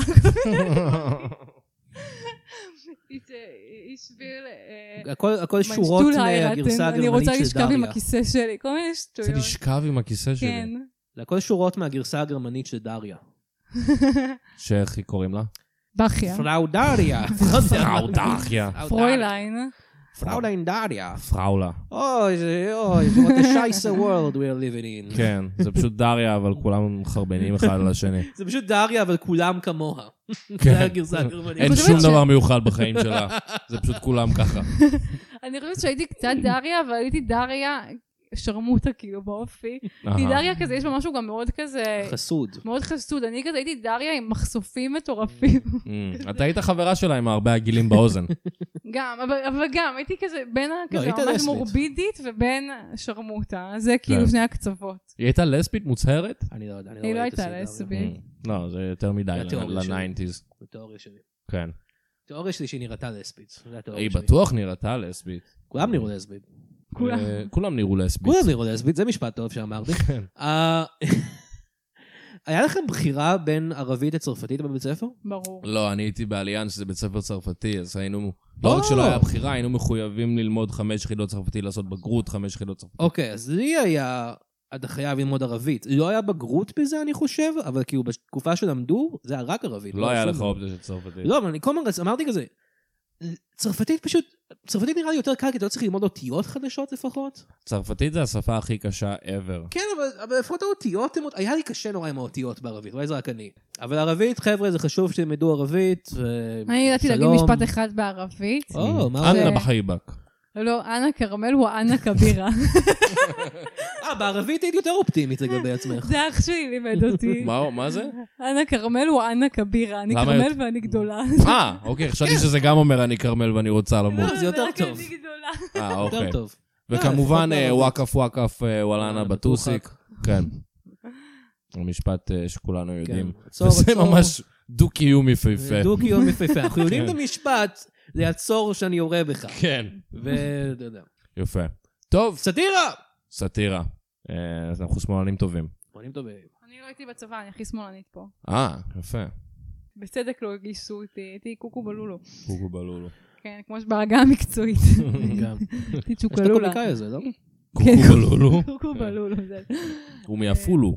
Speaker 4: אישביל...
Speaker 3: הכל- הכל שורות מהגרסה
Speaker 4: אה, אני רוצה
Speaker 3: הגרמנית של
Speaker 4: לשכב עם
Speaker 3: דריה.
Speaker 4: הכיסא שלי, כל מיני
Speaker 2: רוצה
Speaker 4: שטויות.
Speaker 2: לשכב עם הכיסא שלי.
Speaker 4: כן.
Speaker 3: זה הכל שורות מהגרסה הגרמנית של דריה.
Speaker 2: שאיך היא קוראים לה?
Speaker 4: בכיה.
Speaker 3: פראודריה.
Speaker 2: פראודריה.
Speaker 4: פרויליין.
Speaker 3: פראוליין דריה.
Speaker 2: פראולה.
Speaker 3: אוי, זה- אוי, זה- what a scheiße world we are living in.
Speaker 2: כן, זה פשוט דריה, אבל כולם מחרבנים אחד על השני.
Speaker 3: זה פשוט דריה, אבל כולם כמוה.
Speaker 2: כן.
Speaker 3: זה הגרסה הגרמנית.
Speaker 2: אין
Speaker 4: חושבת
Speaker 2: שום
Speaker 4: ש-
Speaker 2: דבר מיוחד בחיים שלה. זה פשוט כולם ככה.
Speaker 4: אני חושבת שהייתי קצת דריה, אבל הייתי דריה שרמוטה כאילו באופי. כי
Speaker 2: אהה.
Speaker 4: דריה כזה, יש בה משהו גם מאוד כזה...
Speaker 3: חסוד.
Speaker 4: מאוד חסוד. אני כזה הייתי דריה עם מחשופים מטורפים.
Speaker 2: אמ, אתה היית חברה שלה עם הרבה עגילים באוזן.
Speaker 4: גם, אבל, אבל גם, הייתי כזה בין ה- כזה
Speaker 3: לא, היית
Speaker 4: ממש
Speaker 3: לסבית.
Speaker 4: מורבידית ובין שרמוטה. זה כאילו
Speaker 2: כן.
Speaker 4: שני הקצוות.
Speaker 2: היא הייתה לסבית מוצהרת?
Speaker 3: אני לא יודע, אני לא
Speaker 4: היא לא
Speaker 3: ראיתי את
Speaker 4: הייתה
Speaker 3: הסדרה.
Speaker 4: לסבית.
Speaker 2: אמ, לא, זה יותר מדי
Speaker 3: זה התיאוריה שלי.
Speaker 2: לניינטיז.
Speaker 3: זו תיאוריה שלי.
Speaker 2: כן.
Speaker 3: התיאוריה שלי שהיא נראתה לסבית. זו התיאוריה
Speaker 2: היא
Speaker 3: שלי.
Speaker 2: בטוח נראתה לסבית.
Speaker 3: כולם נראו לסבית.
Speaker 4: כולם.
Speaker 2: אה, כולם נראו לסבית.
Speaker 3: כולם נראו לסבית, זה משפט טוב שאמרתי.
Speaker 2: כן.
Speaker 3: אה, היה לכם בחירה בין ערבית לצרפתית בבית ספר?
Speaker 4: ברור.
Speaker 2: לא, אני הייתי באליאנס, זה בית ספר צרפתי, אז היינו,
Speaker 3: או.
Speaker 2: לא רק שלא היה בחירה, היינו מחויבים ללמוד חמש יחידות צרפתי, לעשות בגרות חמש יחידות צרפתי.
Speaker 3: אוקיי, אז לי היה... אתה חייב ללמוד ערבית. לא היה בגרות בזה, אני חושב, אבל כאילו בתקופה שלמדו, זה היה רק ערבית.
Speaker 2: לא היה
Speaker 3: שום
Speaker 2: לך
Speaker 3: דבר.
Speaker 2: אופציה של צרפתית.
Speaker 3: לא, אבל אני כל הזמן רצ- אמרתי כזה, צרפתית פשוט, צרפתית נראה לי יותר קל, כי אתה לא צריך ללמוד אותיות חדשות לפחות.
Speaker 2: צרפתית זה השפה הכי קשה ever.
Speaker 3: כן, אבל, אבל לפחות האותיות, הן, היה לי קשה נורא עם האותיות בערבית, אולי זה רק אני. אבל ערבית, חבר'ה, זה חשוב שילמדו ערבית, ו...
Speaker 4: אני ידעתי להגיד
Speaker 3: לא, שלום.
Speaker 4: משפט אחד בערבית.
Speaker 2: Mm.
Speaker 3: או, מה זה?
Speaker 2: אנא בחייבק.
Speaker 4: לא, אנה כרמל הוא אנה כבירה.
Speaker 3: אה, בערבית היית יותר אופטימית לגבי עצמך.
Speaker 4: זה אח שלי לימד אותי.
Speaker 2: מה- מה זה?
Speaker 4: אנה כרמל הוא אנה כבירה. אני
Speaker 2: למה
Speaker 4: כרמל
Speaker 2: יותר-
Speaker 4: ואני גדולה.
Speaker 2: אה, אוקיי,
Speaker 3: כן.
Speaker 2: חשבתי שזה גם אומר אני כרמל ואני רוצה למות.
Speaker 3: זה יותר
Speaker 4: רק
Speaker 3: טוב.
Speaker 4: אני גדולה.
Speaker 2: אה,
Speaker 3: יותר
Speaker 2: אוקיי.
Speaker 3: טוב.
Speaker 2: וכמובן
Speaker 3: אה, לפחות
Speaker 2: אה,
Speaker 3: בערבית.
Speaker 2: וואקף וואקף אה, וואלנה בטוסיק. כן. המשפט אה, שכולנו יודעים.
Speaker 3: עצור,
Speaker 2: וזה
Speaker 3: עצור.
Speaker 2: ממש דו-קיום יפהפה.
Speaker 3: דו-קיום יפהפה. אנחנו יודעים את
Speaker 2: כן.
Speaker 3: המשפט, זה הצור שאני יורה בך.
Speaker 2: כן.
Speaker 3: ואתה יודע.
Speaker 2: יפה. טוב,
Speaker 3: סאטירה!
Speaker 2: סאטירה. אה, אז אנחנו שמאלנים טובים.
Speaker 3: בונים טובים.
Speaker 4: אני לא הייתי בצבא, אני הכי שמאלנית פה.
Speaker 2: אה, יפה.
Speaker 4: בצדק לא הגישו אותי, הייתי קוקו בלולו.
Speaker 2: קוקו בלולו.
Speaker 4: כן, כמו שבהגה המקצועית.
Speaker 3: גם.
Speaker 4: הייתי
Speaker 3: יש את
Speaker 4: צ'וקלולה.
Speaker 3: הקומיקאי הזה, לא?
Speaker 2: קוקו
Speaker 4: כן.
Speaker 2: בלולו.
Speaker 4: קוקו בלולו. זה-
Speaker 2: הוא מעפולו.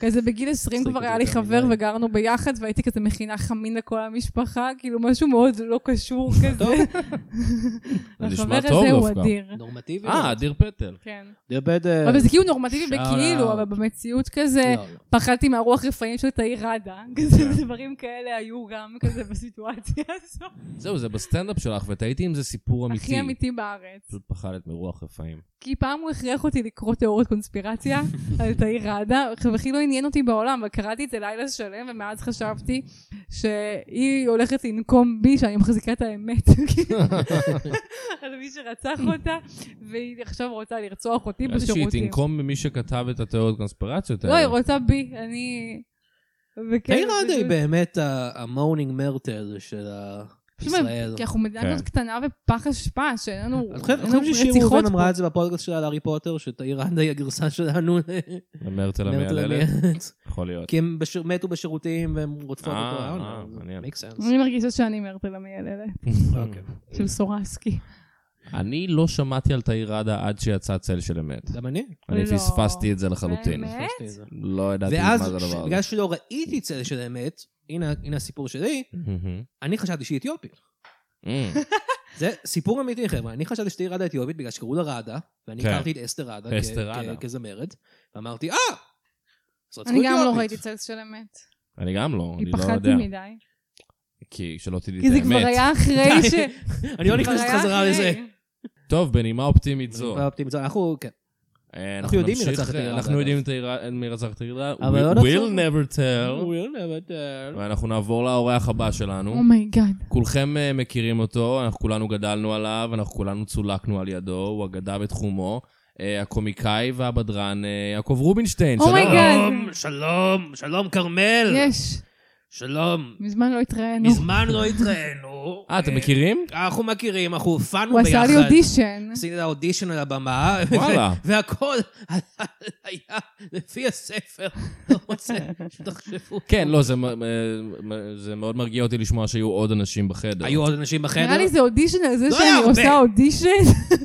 Speaker 4: כזה בגיל 20 כבר
Speaker 3: מצחיק
Speaker 4: היה לי
Speaker 3: יותר
Speaker 4: חבר
Speaker 3: מדי.
Speaker 4: וגרנו ביחד, והייתי כזה מכינה חמין לכל המשפחה, כאילו משהו מאוד לא קשור כזה.
Speaker 3: טוב,
Speaker 2: זה נשמע
Speaker 4: החבר
Speaker 2: טוב
Speaker 4: הזה הוא
Speaker 2: דווקא.
Speaker 4: אדיר.
Speaker 3: נורמטיבי.
Speaker 2: אה, אדיר פטל.
Speaker 4: כן.
Speaker 3: דיר בדר.
Speaker 4: אבל זה כאילו נורמטיבי
Speaker 3: שאלה.
Speaker 4: בכאילו, אבל במציאות כזה,
Speaker 3: אה, לא, לא.
Speaker 4: פחדתי מהרוח רפאים של תאי ראדה. כזה דברים כאלה היו גם כזה בסיטואציה הזו.
Speaker 2: זהו, זה בסטנדאפ שלך, ותהיתי אם זה סיפור אמיתי.
Speaker 4: הכי אמיתי בארץ.
Speaker 2: פשוט פחדת מרוח רפאים.
Speaker 4: כי פעם הוא הכריח אותי לקרוא תיאוריות קונספירציה על תאי ראדה, והכי לא עניין אותי בעולם, אבל קראתי את זה לילה שלם, ומאז חשבתי שהיא הולכת לנקום בי, שאני מחזיקה את האמת, כאילו, על מי שרצח אותה, והיא עכשיו רוצה לרצוח אותי
Speaker 2: אז
Speaker 4: בשירותים.
Speaker 2: שהיא תנקום במי שכתב את התיאוריות קונספירציות האלה.
Speaker 4: לא, היא רוצה בי, אני... וכן,
Speaker 3: תאיר עדה היא
Speaker 4: פשוט-
Speaker 3: באמת ה- המונינג מרטל של ה-
Speaker 4: תשמע,
Speaker 3: ישראל.
Speaker 4: כי אנחנו מדינה
Speaker 2: כן.
Speaker 4: כזאת קטנה ופח אשפה, שאין לנו
Speaker 3: אני חושב
Speaker 4: אין
Speaker 3: אני
Speaker 4: לנו
Speaker 3: חושב ששיר
Speaker 4: רציחות
Speaker 3: ראובן
Speaker 4: פה.
Speaker 3: אמרה את זה בפודקאסט שלה על הארי פוטר, שתאיר עדה היא הגרסה שלנו למרטל
Speaker 2: למרטל המייללת?
Speaker 3: המייללת.
Speaker 2: יכול להיות.
Speaker 3: כי הם בש- מתו בשירותים והם רודפות אותו.
Speaker 2: אה,
Speaker 3: אה,
Speaker 2: אה, מעניין.
Speaker 3: make sense.
Speaker 4: אני מרגישה שאני מרטל המייללת,
Speaker 3: אוקיי.
Speaker 4: של סורסקי.
Speaker 2: אני לא שמעתי על תאיר ראדה עד שיצא צל של אמת.
Speaker 3: גם אני.
Speaker 2: אני
Speaker 4: לא.
Speaker 2: פספסתי את זה לחלוטין.
Speaker 4: באמת?
Speaker 3: פספסתי את זה.
Speaker 2: לא ידעתי מה
Speaker 3: ואז,
Speaker 2: זה הדבר
Speaker 3: ש-
Speaker 2: הזה.
Speaker 3: בגלל שלא ראיתי צל של אמת, הנה הנה הסיפור שלי,
Speaker 2: מהמם.
Speaker 3: אני חשבתי שהיא אתיופית.
Speaker 4: Mm.
Speaker 2: מהמם.
Speaker 3: זה סיפור אמיתי, חבר'ה. אני חשבתי שתהיה ראדה אתיופית בגלל שקראו לה ראדה, ואני
Speaker 2: כן.
Speaker 3: הכרתי את אסתר ראדה כ-
Speaker 2: אסתר
Speaker 3: כ-
Speaker 2: ראדה.
Speaker 3: כזמרת, ואמרתי, אה! אז רצחו
Speaker 4: אני גם לא
Speaker 3: אתיופית."
Speaker 4: ראיתי צלס של אמת.
Speaker 2: אני גם לא,
Speaker 4: כי
Speaker 2: אני לא
Speaker 4: פחדתי
Speaker 2: יודע.
Speaker 4: מדי.
Speaker 2: כי שלא תדעי את
Speaker 4: כי זה כבר
Speaker 2: האמת.
Speaker 4: היה אחרי ש...
Speaker 3: אני לא
Speaker 4: כבר
Speaker 3: נכנס
Speaker 4: היה
Speaker 3: חזרה
Speaker 4: אחרי.
Speaker 3: לזה.
Speaker 2: טוב, בנימה אופטימית
Speaker 3: אני
Speaker 2: זו.
Speaker 3: כבר אופטימי, זו- אנחנו, כן.
Speaker 2: אה,
Speaker 3: אנחנו יודעים מי
Speaker 2: נמשיך,
Speaker 3: רצח את תאיר ראדה,
Speaker 2: אנחנו
Speaker 3: אגב.
Speaker 2: יודעים את תאיר ראדה- מי רצח את תאיר ראדה.
Speaker 3: אבל לא
Speaker 2: We-
Speaker 3: נצא-
Speaker 2: We'll never tell.
Speaker 3: We'll Oh, never tell.
Speaker 2: ואנחנו נעבור לאורח הבא שלנו.
Speaker 4: Oh אומייגאד.
Speaker 2: כולכם אה, מכירים אותו, אנחנו כולנו גדלנו עליו, אנחנו כולנו צולקנו על ידו, הוא אגדה בתחומו. אה, הקומיקאי והבדרן אה, יעקב רובינשטיין,
Speaker 4: Oh my God.
Speaker 3: שלום, שלום, שלום כרמל.
Speaker 4: יש.
Speaker 3: שלום.
Speaker 4: מזמן לא התראינו.
Speaker 3: מזמן לא התראינו. ברור.
Speaker 2: אה, אתם מכירים?
Speaker 3: אנחנו מכירים, אנחנו הופענו
Speaker 4: הוא
Speaker 3: ביחד.
Speaker 4: עשה לי אודישן.
Speaker 3: עשיתי את האודישן על הבמה,
Speaker 2: וואלה.
Speaker 3: ו- והכל היה לפי הספר, לא רוצה שתחשבו.
Speaker 2: כן, לא, זה מ- מ- מ- זה מאוד מרגיע אותי לשמוע שהיו עוד אנשים בחדר.
Speaker 3: היו עוד אנשים בחדר?
Speaker 4: נראה לי זה אודישן על זה
Speaker 3: לא היה
Speaker 4: שאני
Speaker 3: הרבה.
Speaker 4: עושה אודישן,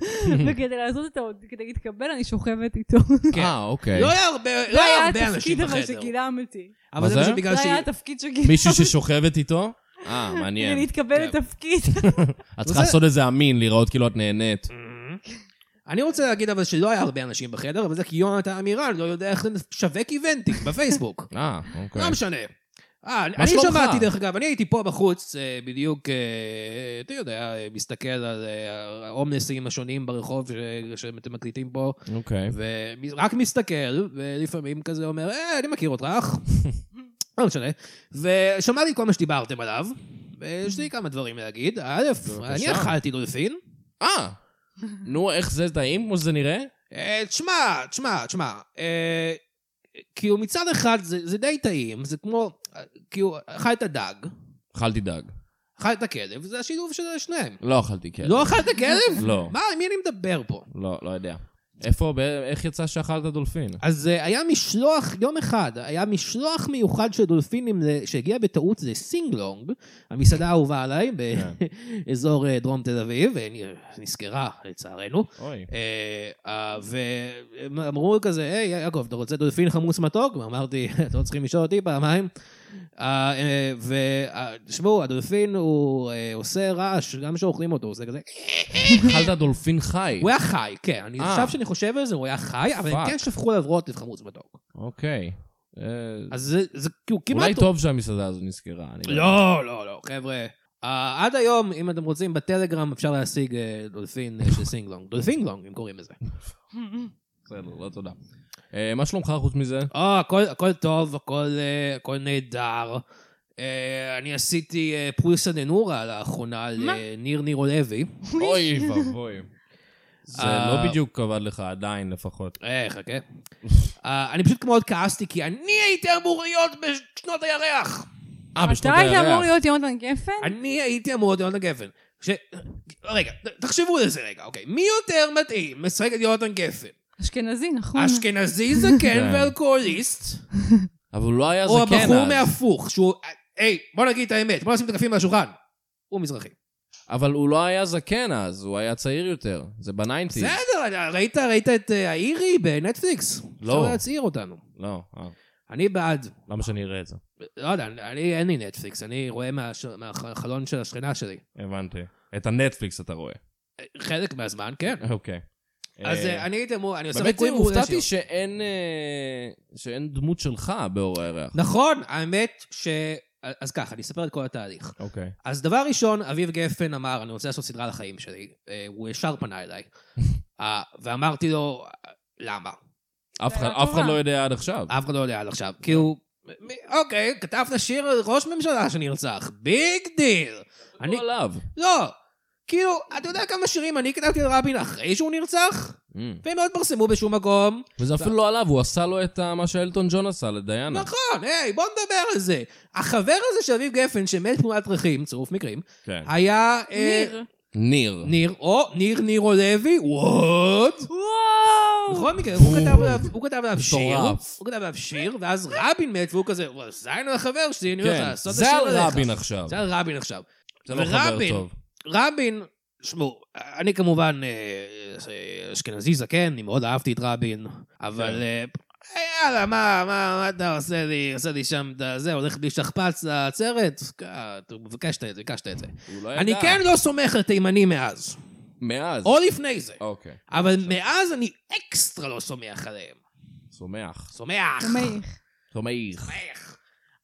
Speaker 4: וכדי לעשות את האוד... כדי להתקבל אני שוכבת איתו.
Speaker 3: כן.
Speaker 2: אה, אוקיי.
Speaker 3: לא היה הרבה, לא היה הרבה אנשים
Speaker 4: זה היה התפקיד
Speaker 3: בחדר.
Speaker 4: אבל שגילם אותי.
Speaker 2: מה
Speaker 3: אבל זה
Speaker 2: זה?
Speaker 3: פשוט
Speaker 4: זה
Speaker 3: בגלל ש...
Speaker 4: היה התפקיד שגילם
Speaker 2: מישהו ששוכבת איתו? אה,
Speaker 3: כן?
Speaker 4: כדי
Speaker 2: מעניין.
Speaker 4: להתקבל לתפקיד.
Speaker 2: את צריכה
Speaker 3: זה-
Speaker 2: לעשות איזה אמין, להיראות כאילו את נהנית. Mm-hmm.
Speaker 3: אני רוצה להגיד אבל שלא היה הרבה אנשים בחדר, אבל זה כי יונתן עמירן לא יודע איך לשווק איבנטים בפייסבוק.
Speaker 2: אה,
Speaker 3: לא
Speaker 2: אוקיי.
Speaker 3: משנה. אה, אני
Speaker 2: מה שלומך?
Speaker 3: שמעתי, דרך אגב, אני הייתי פה בחוץ, אה, בדיוק, אה, אתה יודע, אה, מסתכל על אה, ההומלסים השונים ברחוב ש- שאתם מקליטים פה,
Speaker 2: אוקיי.
Speaker 3: ורק מסתכל, ולפעמים כזה אומר, אה, אני מכיר אותך. לא משנה. ושמעתי כל מה שדיברתם עליו, ויש לי כמה דברים להגיד. א', אני אכלתי דולפין.
Speaker 2: אה! נו, איך זה טעים כמו שזה נראה?
Speaker 3: אה, תשמע, תשמע, תשמע. אה, כאילו מצד אחד זה, זה די טעים, זה כמו, אה, כאילו, אכלת דג,
Speaker 2: אל תדאג.
Speaker 3: אכלת כלב, זה השילוב של שניהם.
Speaker 2: לא אכלתי כלב.
Speaker 3: לא אכלת כלב?
Speaker 2: לא.
Speaker 3: מה, עם מי אני מדבר פה?
Speaker 2: לא, לא יודע. איפה, ב- איך יצא שאכלת דולפין?
Speaker 3: אז אה, היה משלוח, יום אחד, היה משלוח מיוחד של דולפינים ל- שהגיע בטעות לסינגלונג, המסעדה האהובה עליי
Speaker 2: כן.
Speaker 3: באזור אה, דרום תל אביב, ונסגרה לצערנו.
Speaker 2: אוי.
Speaker 3: אה, אה, והם אמרו כזה, היי, יעקב, אתה רוצה דולפין חמוס מתוק? ואמרתי, אתם לא צריכים לשאול אותי פעמיים. אה, ותשמעו, אה, הדולפין הוא אה, עושה רעש, גם כשאוכלים אותו, הוא עושה כזה...
Speaker 2: אכלת דולפין חי.
Speaker 3: הוא היה חי, כן. אני-
Speaker 2: אה.
Speaker 3: עכשיו שאני חושב על זה, הוא היה חי, אבל הם
Speaker 2: פאק.
Speaker 3: כן שפכו עליו רוטב חמוץ מתוק.
Speaker 2: אוקיי. אה,
Speaker 3: אז זה- זה כאילו כמעט...
Speaker 2: אולי טוב שהמסעדה הזו נסגרה. אני
Speaker 3: לא, לא, לא, חבר'ה. אה, עד היום, אם אתם רוצים, בטלגרם אפשר להשיג אה, דולפין אה, של סינגלונג. דולפינגלונג, הם קוראים לזה.
Speaker 2: בסדר, לא תודה. אה, מה שלומך חוץ מזה?
Speaker 3: אה, הכל, הכל טוב, הכל, אה, הכל נהדר. אה, אני עשיתי אה, פולסה דנורה לאחרונה לניר נירו לוי.
Speaker 2: אוי ואבוי. זה
Speaker 3: אה,
Speaker 2: לא בדיוק עבד לך, עדיין לפחות.
Speaker 3: אה, חכה. אה, אני פשוט מאוד כעסתי, כי אני הייתי אמור להיות בשנות הירח.
Speaker 2: אה, בשנות
Speaker 4: אתה היית אמור
Speaker 2: הירח.
Speaker 4: להיות יונתן גפן?
Speaker 3: אני הייתי אמור להיות יונתן גפן. ש... רגע, ת- תחשבו על זה רגע, אוקיי. מי יותר מתאים לשחק את יונתן גפן?
Speaker 4: אשכנזי, נכון.
Speaker 3: אשכנזי זקן
Speaker 2: כן.
Speaker 3: ואלכוהוליסט,
Speaker 2: אבל הוא לא היה זקן
Speaker 3: או
Speaker 2: אז.
Speaker 3: הבחור מהפוך, שהוא... היי, בוא נגיד את האמת, בוא נשים את הקלפים על השולחן. הוא מזרחי.
Speaker 2: אבל הוא לא היה זקן אז, הוא היה צעיר יותר. זה בניינטיז.
Speaker 3: בסדר, ראית, ראית את אה, האירי בנטפליקס?
Speaker 2: לא.
Speaker 3: אפשר להצעיר אותנו.
Speaker 2: לא, אה,
Speaker 3: אני בעד,
Speaker 2: למה שאני אראה את זה?
Speaker 3: לא יודע, אני אין לי נטפליקס, אני רואה מהש- מהחלון של השכנה שלי. אה,
Speaker 2: הבנתי. את הנטפליקס אתה רואה.
Speaker 3: חלק מהזמן, כן.
Speaker 2: אוקיי.
Speaker 3: אז
Speaker 2: אה,
Speaker 3: אה, אני הייתי אמור, אני עושה
Speaker 2: באמת
Speaker 3: ריקוי מעולה
Speaker 2: הופתעתי
Speaker 3: שלי.
Speaker 2: שאין אה, שאין דמות שלך באור הירח.
Speaker 3: נכון, האמת ש... אז ככה, אני אספר את כל התהליך.
Speaker 2: אוקיי.
Speaker 3: אז דבר ראשון, אביב גפן אמר, אני רוצה לעשות סדרה לחיים שלי. אה, הוא ישר פנה אליי. אה, ואמרתי לו, למה?
Speaker 2: אף אחד-
Speaker 4: הערה
Speaker 2: אף אחד
Speaker 4: טובה.
Speaker 2: לא יודע עד עכשיו.
Speaker 3: אף אחד לא יודע עד עכשיו. כי הוא... מ- אוקיי, כתבת שיר על ראש ממשלה שנרצח, ביג דיל. אני...
Speaker 2: לא עליו.
Speaker 3: לא. כאילו, אתה יודע כמה שירים אני כתבתי על רבין אחרי שהוא נרצח?
Speaker 2: אמ.
Speaker 3: והם לא התפרסמו בשום מקום.
Speaker 2: וזה אפילו לא עליו, הוא עשה לו את ה- מה שאלטון ג'ון עשה לדיינה.
Speaker 3: נכון, היי, בוא נדבר על זה. החבר הזה של אביב גפן, שמת תמונת דרכים, צירוף מקרים,
Speaker 2: כן.
Speaker 3: היה... אה,
Speaker 4: ניר.
Speaker 2: ניר.
Speaker 3: ניר, או ניר נירו לוי, וואט.
Speaker 2: כן.
Speaker 4: וואו!
Speaker 3: בכל מקרה, הוא כתב עליו- הוא כתב עליו שיר,
Speaker 2: מטורף.
Speaker 3: הוא כתב עליו שיר, ואז רבין מת, והוא כזה, "וואי, זין על החבר שלי, אני הולך
Speaker 2: כן.
Speaker 3: לעשות את
Speaker 2: זה
Speaker 3: השיר
Speaker 2: על
Speaker 3: עליך.
Speaker 2: רבין עכשיו.
Speaker 3: זה על רבין עכשיו.
Speaker 2: זה לא חבר
Speaker 3: ורבין,
Speaker 2: טוב.
Speaker 3: רבין, שמעו, אני כמובן אה, אה, אשכנזי זקן, אני מאוד אהבתי את רבין, אבל
Speaker 2: כן.
Speaker 3: אה, יאללה, מה, מה, מה אתה עושה לי, עושה לי שם את הזה, הולך בלי שכפ"ץ לעצרת? אה, אתה ביקשת את זה, ביקשת את זה.
Speaker 2: הוא לא ידע.
Speaker 3: אני כן לא סומך על תימנים מאז,
Speaker 2: מאז.
Speaker 3: או לפני זה,
Speaker 2: אוקיי.
Speaker 3: אבל מאז אני אקסטרה לא סומך עליהם.
Speaker 2: סומח.
Speaker 3: סומך.
Speaker 4: מעיך.
Speaker 2: סומך.
Speaker 3: סומך.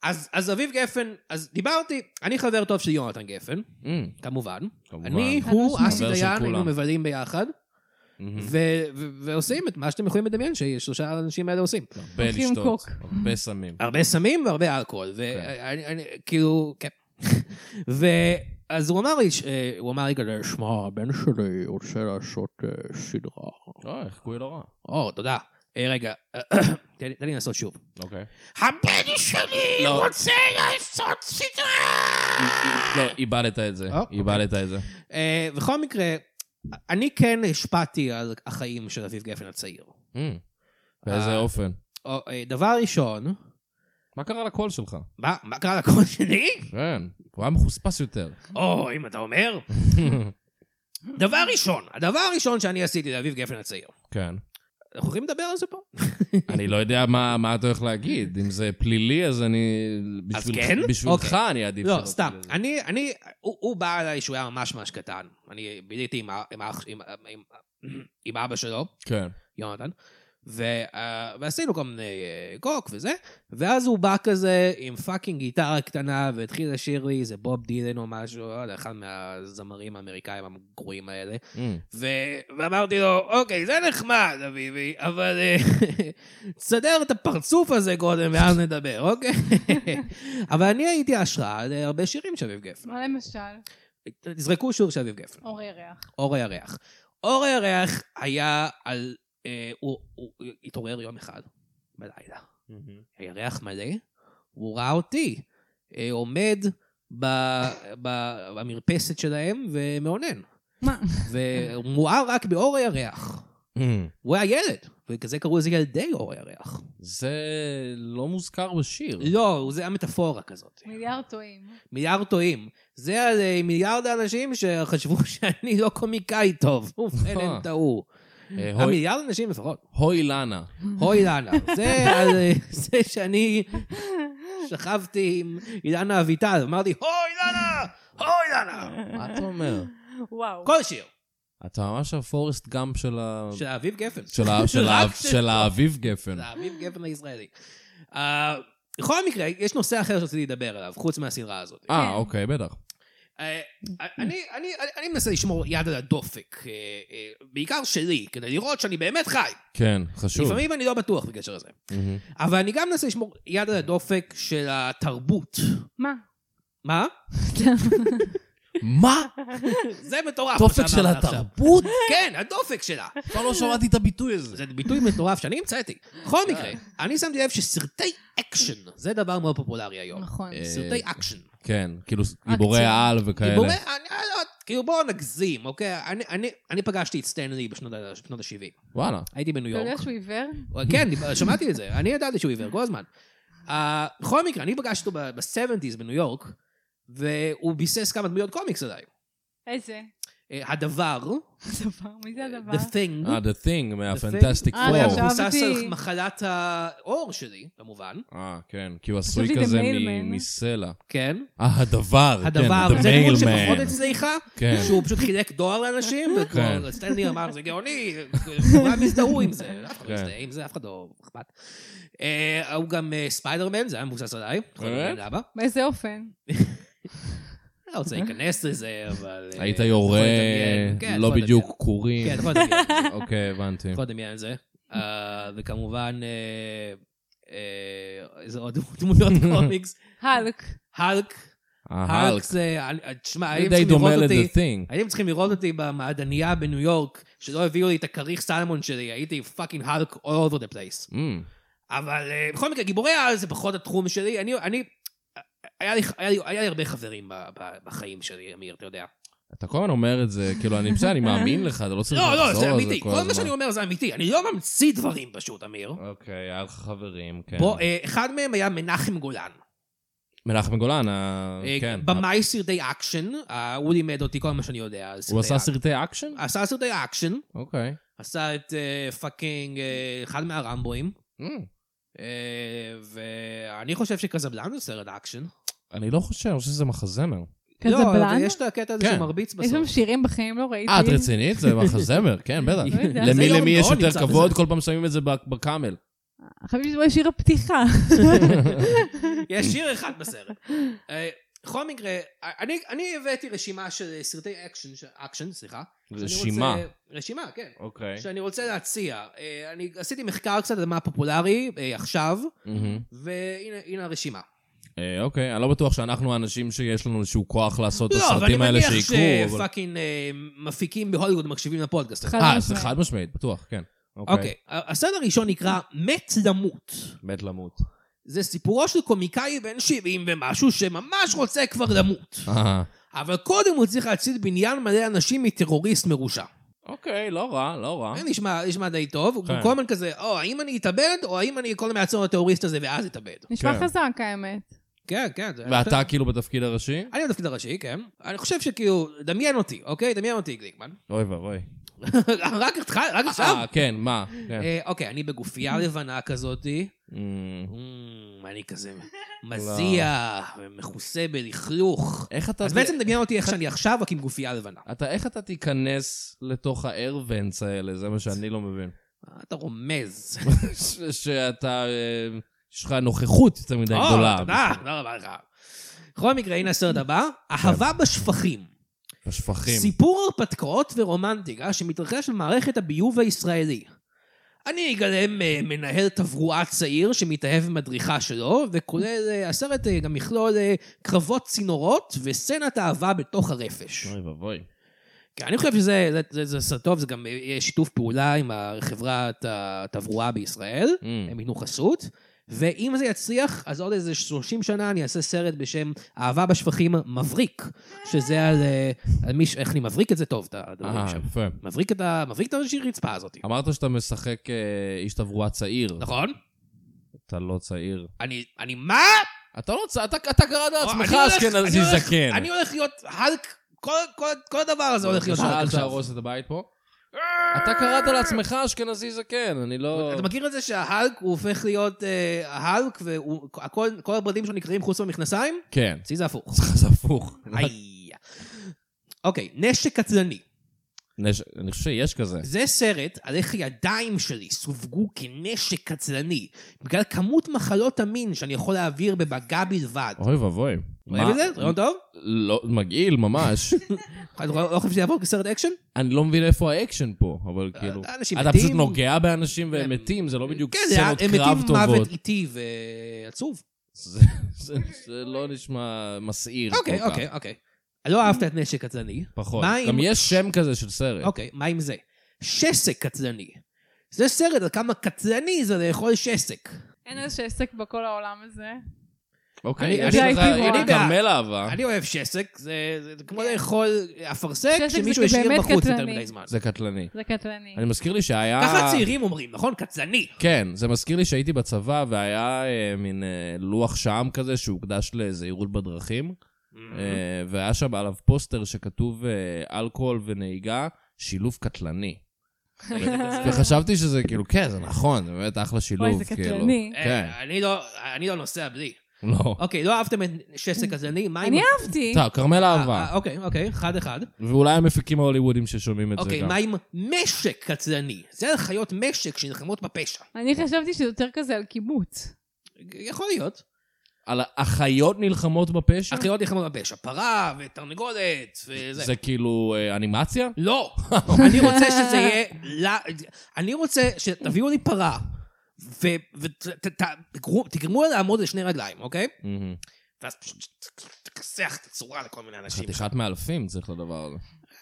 Speaker 3: אז, אז אביב גפן, אז דיברתי, אני חבר טוב של יונתן גפן,
Speaker 2: אמ,
Speaker 3: כמובן.
Speaker 2: כמובן.
Speaker 3: אני, הוא,
Speaker 4: חד משמעית.
Speaker 3: אסי
Speaker 2: חבר של
Speaker 3: דיין,
Speaker 2: כולם.
Speaker 3: היינו מבלים ביחד,
Speaker 2: אמ,
Speaker 3: ו- ו- ועושים את מה שאתם יכולים לדמיין ששלושה האנשים האלה עושים.
Speaker 2: הרבה
Speaker 4: הולכים
Speaker 2: לשתות.
Speaker 4: קוק.
Speaker 2: הרבה סמים.
Speaker 3: הרבה סמים והרבה אלכוהול,
Speaker 2: כן.
Speaker 3: ואני, אני- כאילו, כן. ואז הוא אמר לי, ש- אה, הוא אמר לי כזה, שמע, הבן שלי רוצה לעשות אה, סדרה.
Speaker 2: אוי, חיקוי לא רע.
Speaker 3: או, תודה. אה, רגע, תן לי- לא. תן לי לנסות שוב.
Speaker 2: אוקיי.
Speaker 3: הבן שלי רוצה לעשות סדרה!
Speaker 2: לא, איבדת את זה.
Speaker 3: אוקיי.
Speaker 2: איבדת את זה.
Speaker 3: אה, בכל מקרה, אני כן השפעתי על החיים של אביב גפן הצעיר.
Speaker 2: אה, באיזה
Speaker 3: אה.
Speaker 2: אופן?
Speaker 3: או, אה, דבר ראשון,
Speaker 2: מה קרה לקול שלך?
Speaker 3: מה, מה קרה לקול שלי?
Speaker 2: כן, הוא היה מחוספס יותר.
Speaker 3: או, אם אתה אומר. דבר ראשון, הדבר הראשון שאני עשיתי לאביב גפן הצעיר.
Speaker 2: כן.
Speaker 3: אנחנו יכולים לדבר על זה פה?
Speaker 2: אני לא יודע מה מה אתה הולך להגיד. אם זה פלילי, אז אני...
Speaker 3: אז
Speaker 2: בשביל-
Speaker 3: כן?
Speaker 2: בשבילך אני אעדיף
Speaker 3: לא,
Speaker 2: שלא
Speaker 3: סתם.
Speaker 2: תגיד את זה.
Speaker 3: אני, אני, הוא הוא בא אליי שהוא היה ממש ממש קטן. אני ביליתי עם ה- עם האח- עם- עם- עם אבא שלו,
Speaker 2: כן.
Speaker 3: יונתן, ו- אה, ועשינו כל מיני אה, קוק וזה, ואז הוא בא כזה עם פאקינג גיטרה קטנה והתחיל לשיר לי איזה בוב דילן או משהו, לא יודע, אחד מהזמרים האמריקאים הגרועים האלה.
Speaker 2: אה,
Speaker 3: ו- ואמרתי לו, אוקיי, זה נחמד, אביבי, אבל אה, תסדר את הפרצוף הזה קודם ואז נדבר, אוקיי? אבל אני הייתי השראה להרבה שירים של אביב גפן.
Speaker 4: מה למשל?
Speaker 3: תזרקו שיר של אביב גפן,
Speaker 4: אור ירח.
Speaker 3: אור הירח. אור הירח היה על... אה, הוא הוא התעורר יום אחד בלילה, הירח מלא, הוא ראה אותי, אה, עומד ב- ב- במרפסת שלהם ומאונן.
Speaker 4: מה?
Speaker 3: ומואר רק באור הירח.
Speaker 2: אה.
Speaker 3: הוא היה ילד, וכזה קראו לזה ילדי אור הירח.
Speaker 2: זה לא מוזכר בשיר.
Speaker 3: לא, זה היה מטאפורה כזאת.
Speaker 4: מיליארד טועים.
Speaker 3: מיליארד טועים. זה על אה, מיליארד האנשים שחשבו שאני לא קומיקאי טוב, ובכן הם טעו.
Speaker 2: אה, הוי-
Speaker 3: המיליארד אנשים לפחות.
Speaker 2: הוי לנה.
Speaker 3: הוי אילנה. זה על אה, זה שאני שכבתי עם אילנה אביטל, אמרתי, הוי אילנה! הוי אילנה!
Speaker 2: מה אתה אומר?
Speaker 4: וואו.
Speaker 3: כל שיר.
Speaker 2: אתה ממש הפורסט גאמפ של ה...
Speaker 3: של האביב גפן.
Speaker 2: של ה- של ה-
Speaker 3: רק לא.
Speaker 2: של האביב גפן.
Speaker 3: זה האביב גפן הישראלי. אה, בכל מקרה, יש נושא אחר שרציתי לדבר עליו, חוץ מהסדרה הזאת.
Speaker 2: אה, אוקיי, בטח.
Speaker 3: אה, אני, אני, אני- אני מנסה לשמור יד על הדופק, אה, אה, בעיקר שלי, כדי לראות שאני באמת חי.
Speaker 2: כן, חשוב.
Speaker 3: לפעמים אני לא בטוח בקשר לזה.
Speaker 2: מהמם.
Speaker 3: אבל אני גם מנסה לשמור יד על הדופק של התרבות.
Speaker 4: מה?
Speaker 3: מה?
Speaker 2: מה?
Speaker 3: זה מטורף. מה
Speaker 2: דופק של
Speaker 3: שאמרת עכשיו.
Speaker 2: התרבות?
Speaker 3: כן, הדופק שלה.
Speaker 2: כבר לא שמעתי את הביטוי הזה.
Speaker 3: זה ביטוי מטורף שאני המצאתי. בכל
Speaker 4: כן.
Speaker 3: מקרה, אני שמתי לב שסרטי אקשן, זה דבר מאוד פופולרי היום.
Speaker 4: נכון.
Speaker 2: אה,
Speaker 3: סרטי אקשן.
Speaker 2: כן, כאילו גיבורי
Speaker 4: אקציה.
Speaker 2: העל וכאלה.
Speaker 3: גיבורי, אני, אני לא, כאילו בואו נגזים, אוקיי? אני, אני, אני פגשתי את סטנלי בשנות ה-70.
Speaker 2: וואלה.
Speaker 3: הייתי בניו
Speaker 4: אתה יודע
Speaker 3: יורק.
Speaker 4: שהוא עיוור?
Speaker 3: כן, דיב- שמעתי את זה, אני ידעתי שהוא עיוור כל הזמן. אה, בכל מקרה, אני פגשתי אותו ב-70's בניו יורק, והוא ביסס כמה דמויות קומיקס עליי.
Speaker 4: איזה?
Speaker 3: אה, הדבר,
Speaker 4: הדבר? מי זה הדבר?
Speaker 3: The Thing,
Speaker 2: אה, The Thing
Speaker 3: The
Speaker 2: מהפנטסטיק
Speaker 3: Thing.
Speaker 4: אה, אני
Speaker 2: פור.
Speaker 4: עכשיו-
Speaker 3: מבוסס על
Speaker 4: חשבתי.
Speaker 3: מחלת העור שלי, כמובן.
Speaker 2: אה, כן, כי הוא
Speaker 4: חשבתי
Speaker 2: עשוי
Speaker 4: The
Speaker 2: כזה
Speaker 4: Mailman.
Speaker 2: מ- מסלע.
Speaker 3: כן.
Speaker 2: אה, הדבר, כן,
Speaker 3: הדבר,
Speaker 2: The
Speaker 3: זה דמות שפחות
Speaker 2: Mailman.
Speaker 3: הצליחה,
Speaker 2: כן.
Speaker 3: שהוא פשוט חילק דואר לאנשים,
Speaker 2: כן.
Speaker 3: וכבר סטנלי אמר, זה גאוני, כולם הזדהו עם זה, אף אחד לא
Speaker 2: כן.
Speaker 3: הזדהה עם זה, אף אחד לא אכפת. אה, הוא גם אה, ספיידרמן, זה היה מבוסס עליי, יכול
Speaker 2: באמת?
Speaker 3: להגיד למה.
Speaker 4: באיזה אופן?
Speaker 3: אני לא רוצה להיכנס לזה, אבל... אה,
Speaker 2: היית
Speaker 3: אתה יכול
Speaker 2: יורה
Speaker 3: לדמיין. כן, אתה
Speaker 2: לא
Speaker 3: יכול
Speaker 2: בדיוק
Speaker 3: לדמיין.
Speaker 2: קורים.
Speaker 3: כן, אתה יכול לדמיין את זה.
Speaker 2: אוקיי, הבנתי.
Speaker 3: אתה יכול לדמיין את זה. אה, וכמובן, אה, אה, איזה עוד דמויות קומיקס.
Speaker 4: האלק.
Speaker 3: האלק,
Speaker 2: ההלק.
Speaker 3: האלק זה... אני- תשמע,
Speaker 2: אה, זה
Speaker 3: הייתם
Speaker 2: די
Speaker 3: צריכים
Speaker 2: דומה
Speaker 3: לראות אותי...
Speaker 2: ל-The Thing.
Speaker 3: הייתם צריכים לראות אותי במעדניה בניו יורק, שלא הביאו לי את הכריך סלמון שלי, הייתי פאקינג האלק all over the place.
Speaker 2: אמ,
Speaker 3: אבל אה, בכל מקרה, גיבורי העל זה פחות התחום שלי, אני... אני היה לי, היה, לי, היה לי הרבה חברים ב, ב, בחיים שלי, אמיר, אתה יודע.
Speaker 2: אתה כל הזמן אומר את זה, כאילו, אני בסדר, אני מאמין לך, אתה לא צריך
Speaker 3: לא,
Speaker 2: לחזור
Speaker 3: לא,
Speaker 2: על זה כל
Speaker 3: זה
Speaker 2: הזמן.
Speaker 3: אמיתי. כל מה שאני אומר זה אמיתי. אני לא ממציא דברים פשוט, אמיר.
Speaker 2: אוקיי, היה לך חברים, כן.
Speaker 3: בוא, אה, אחד מהם היה מנחם גולן.
Speaker 2: מנחם גולן, ה-
Speaker 3: אה,
Speaker 2: כן.
Speaker 3: במאי סרטי אקשן, אה, הוא לימד אותי כל מה שאני יודע על סרטי
Speaker 2: הוא עשה
Speaker 3: אקשן.
Speaker 2: סרטי אקשן?
Speaker 3: עשה סרטי אקשן,
Speaker 2: אוקיי.
Speaker 3: עשה את אה, פאקינג אה, אחד מהרמבואים.
Speaker 2: אמ,
Speaker 3: אה, ואני חושב שקזבלן זה סרט אקשן.
Speaker 2: אני לא חושב, אני חושב שזה מחזמר.
Speaker 3: לא,
Speaker 4: קזבלן?
Speaker 3: אבל יש את הקטע הזה
Speaker 2: כן.
Speaker 3: שהוא מרביץ
Speaker 4: יש שם
Speaker 3: בסוף.
Speaker 4: שירים בחיים לא ראיתי.
Speaker 2: אה, את רצינית? זה מחזמר, כן, בטח.
Speaker 4: לא יודעת.
Speaker 2: למי
Speaker 3: אוקיי. זה
Speaker 2: למי
Speaker 3: יורם
Speaker 2: יש
Speaker 3: גאון
Speaker 2: יותר
Speaker 3: נמצא
Speaker 2: כבוד?
Speaker 3: בזה.
Speaker 2: כל פעם שמים את זה בק- בקאמל.
Speaker 4: חייבים לשמוע שיר הפתיחה.
Speaker 3: יש שיר אחד בסרט. אה, בכל מקרה, אני אני הבאתי רשימה של סרטי אקשן, ש- אקשן, סליחה. שאני רוצה-
Speaker 2: רשימה.
Speaker 3: רשימה, כן.
Speaker 2: אוקיי.
Speaker 3: שאני רוצה להציע. אה, אני עשיתי מחקר קצת על מה פופולרי אה, עכשיו,
Speaker 2: מהמם.
Speaker 3: והנה הנה הרשימה.
Speaker 2: אה, אוקיי, אני לא בטוח שאנחנו האנשים שיש לנו איזשהו כוח לעשות את
Speaker 3: לא, אבל אני
Speaker 2: הסרטים האלה
Speaker 3: מניח
Speaker 2: שיקרו. אבל-
Speaker 3: שפאקינג אה, מפיקים בהוליווד מקשיבים לפודקאסט. הזה.
Speaker 4: חד
Speaker 2: אה, זה
Speaker 4: משמעית.
Speaker 2: חד משמעית, בטוח, כן.
Speaker 3: אוקיי, הסרט הראשון נקרא מת למות.
Speaker 2: מת למות.
Speaker 3: זה סיפורו של קומיקאי בן 70 ומשהו שממש רוצה כבר למות.
Speaker 2: אה,
Speaker 3: אבל קודם הוא צריך להציל בניין מלא אנשים מטרוריסט מרושע.
Speaker 2: אוקיי, לא רע, לא רע.
Speaker 3: זה נשמע, נשמע די טוב, הוא
Speaker 2: כן.
Speaker 3: כל הזמן כזה, או האם אני אתאבד, או האם אני כל הזמן אעצור הטרוריסט הזה ואז אתאבד.
Speaker 4: נשמע
Speaker 2: כן.
Speaker 4: חזק האמת.
Speaker 3: כן, כן. זה-
Speaker 2: ואתה כאילו בתפקיד הראשי?
Speaker 3: אני בתפקיד הראשי, כן. אני חושב שכאילו, דמיין אותי, אוקיי? דמיין אותי, גליקמן.
Speaker 2: אוי ואבוי.
Speaker 3: רק התחל- רק עכשיו.
Speaker 2: אה, כן, מה? כן.
Speaker 3: אה, אוקיי, אני בגופייה לבנה כזאתי.
Speaker 2: אמ,
Speaker 3: אמ, אני כזה מזיע ומכוסה בלכלוך.
Speaker 2: איך אתה...
Speaker 3: אז בעצם דמיין אותי איך שאני עכשיו, רק עם גופייה לבנה.
Speaker 2: אתה, איך אתה תיכנס לתוך הארוונס האלה? זה מה שאני לא מבין.
Speaker 3: אה, אתה רומז.
Speaker 2: ש- שאתה... אה, יש לך נוכחות יותר מדי
Speaker 3: או,
Speaker 2: גדולה.
Speaker 3: אה, תודה, תודה רבה לך. בכל מקרה, הנה הסרט הבא, אהבה בשפחים.
Speaker 2: השפכים.
Speaker 3: סיפור הרפתקאות ורומנטיקה שמתרחש במערכת הביוב הישראלי. אני אגלם אה, מנהל תברואה צעיר שמתאהב במדריכה שלו, וכולל, אה, הסרט אה, גם יכלול אה, קרבות צינורות וסצנת אהבה בתוך הרפש.
Speaker 2: אוי ואבוי. Mm.
Speaker 3: כן, אני חושב שזה זה, זה, זה סרט טוב, זה גם אה, יש שיתוף פעולה עם חברת התברואה בישראל,
Speaker 2: אמ,
Speaker 3: הם ייתנו חסות, ואם זה יצליח, אז עוד איזה 30 שנה אני אעשה סרט בשם אהבה בשפחים מבריק, שזה על, אה, על מישהו, איך אני מבריק את זה טוב, את הדברים
Speaker 2: אה,
Speaker 3: שם.
Speaker 2: יפה.
Speaker 3: מבריק את ה... מבריק את הרצפה הזאת.
Speaker 2: אמרת שאתה משחק אה, איש תברואה צעיר.
Speaker 3: נכון?
Speaker 2: אתה לא צעיר.
Speaker 3: אני, אני מה?
Speaker 2: אתה לא צעיר, אתה אתה קראת
Speaker 3: אה, אני
Speaker 2: לעצמך
Speaker 3: הולך-
Speaker 2: אשכנזי
Speaker 3: אני הולך-
Speaker 2: זקן.
Speaker 3: אני הולך להיות האלק, כל, כל, כל הדבר הזה הולך להיות האלק
Speaker 2: אל
Speaker 3: עכשיו.
Speaker 2: תהרוס את הבית פה. אתה קראת לעצמך אשכנזי זקן, אני לא...
Speaker 3: אתה מכיר את זה שההלק הוא הופך להיות אה, ההלק, וכל הבדים שלו נקרעים חוץ מהמכנסיים?
Speaker 2: כן.
Speaker 3: אצלי זה הפוך.
Speaker 2: זה הפוך.
Speaker 3: איי. אוקיי, נשק קטלני.
Speaker 2: נש- אני חושב שיש כזה.
Speaker 3: זה סרט על איך הידיים שלי סווגו כנשק קטלני, בגלל כמות מחלות המין שאני יכול להעביר במגע בלבד.
Speaker 2: אוי ואבוי.
Speaker 3: אוהב את זה? רעיון טוב?
Speaker 2: לא, מגעיל ממש.
Speaker 3: אתה לא לא חושב שזה יעבור כסרט אקשן?
Speaker 2: אני לא מבין איפה האקשן פה, אבל כאילו...
Speaker 3: אה, אנשים
Speaker 2: אתה
Speaker 3: מתים.
Speaker 2: פשוט נוגע באנשים והם
Speaker 3: הם-
Speaker 2: מתים, זה לא בדיוק
Speaker 3: כן,
Speaker 2: סצנות
Speaker 3: הם
Speaker 2: קרב
Speaker 3: מתים
Speaker 2: טובות.
Speaker 3: מוות איטי ועצוב.
Speaker 2: זה- זה זה לא נשמע מסעיר כאילו, כל
Speaker 3: אוקיי,
Speaker 2: כך.
Speaker 3: אוקיי, אוקיי. לא אהבת את נשק קטלני.
Speaker 2: פחות.
Speaker 3: מה אם-
Speaker 2: גם יש שם כזה של סרט.
Speaker 3: אוקיי, מה עם זה? שסק קטלני. זה סרט על כמה קטלני זה לאכול שסק.
Speaker 2: אה.
Speaker 4: אין איזה עסק בכל העולם הזה.
Speaker 2: אוקיי,
Speaker 3: אני-
Speaker 2: יש
Speaker 4: אני
Speaker 2: לך...
Speaker 4: הייתי
Speaker 2: הנה
Speaker 4: רואה.
Speaker 2: כרמל אהבה.
Speaker 3: אני אוהב שסק, זה זה כמו לאכול אפרסק
Speaker 4: כן. שסק זה
Speaker 3: שמישהו השאיר
Speaker 4: באמת
Speaker 3: בחוץ יותר
Speaker 4: קטלני.
Speaker 3: מדי זמן.
Speaker 2: זה אה. קטלני.
Speaker 4: זה קטלני.
Speaker 2: אני מזכיר לי שהיה...
Speaker 3: ככה הצעירים אומרים, נכון? קטלני.
Speaker 2: כן, זה מזכיר לי שהייתי בצבא והיה אה, מין אה, לוח שעם כזה שהוקדש לזהירות בדרכים, אה, והיה שם עליו פוסטר שכתוב אה, אלכוהול ונהיגה, שילוב קטלני. אה, וחשבתי שזה כאילו, כן, זה נכון, זה באמת אחלה שילוב.
Speaker 4: וואי, זה
Speaker 2: כאילו.
Speaker 4: קטלני.
Speaker 3: אה,
Speaker 2: כן,
Speaker 3: אני לא- אני לא נוסע בלי.
Speaker 2: לא.
Speaker 3: אוקיי, לא אהבתם את שסק קטלני? מה עם...
Speaker 4: אני אהבתי.
Speaker 2: טוב, כרמל
Speaker 3: אה,
Speaker 2: אהבה,
Speaker 3: אה, אוקיי, אוקיי, אחד אחד.
Speaker 2: ואולי המפיקים ההוליוודים ששומעים את זה
Speaker 3: אוקיי,
Speaker 2: גם.
Speaker 3: מה עם משק קטלני? זה על חיות משק שנלחמות בפשע.
Speaker 4: אני חשבתי שזה יותר כזה על קיבוץ.
Speaker 3: יכול להיות.
Speaker 2: על החיות נלחמות בפשע?
Speaker 3: החיות נלחמות בפשע. פרה ותרנגולת וזה.
Speaker 2: אה. זה כאילו אה, אנימציה?
Speaker 3: לא, אני רוצה שזה יהיה... ל- אני רוצה שתביאו לי פרה, ותגרמו לה לעמוד על שני רגליים, אוקיי?
Speaker 2: מהמם.
Speaker 3: ואז פשוט ת- ת- תכסח את הצורה לכל מיני אנשים.
Speaker 2: חתיכת מאלפים צריך לדבר הזה.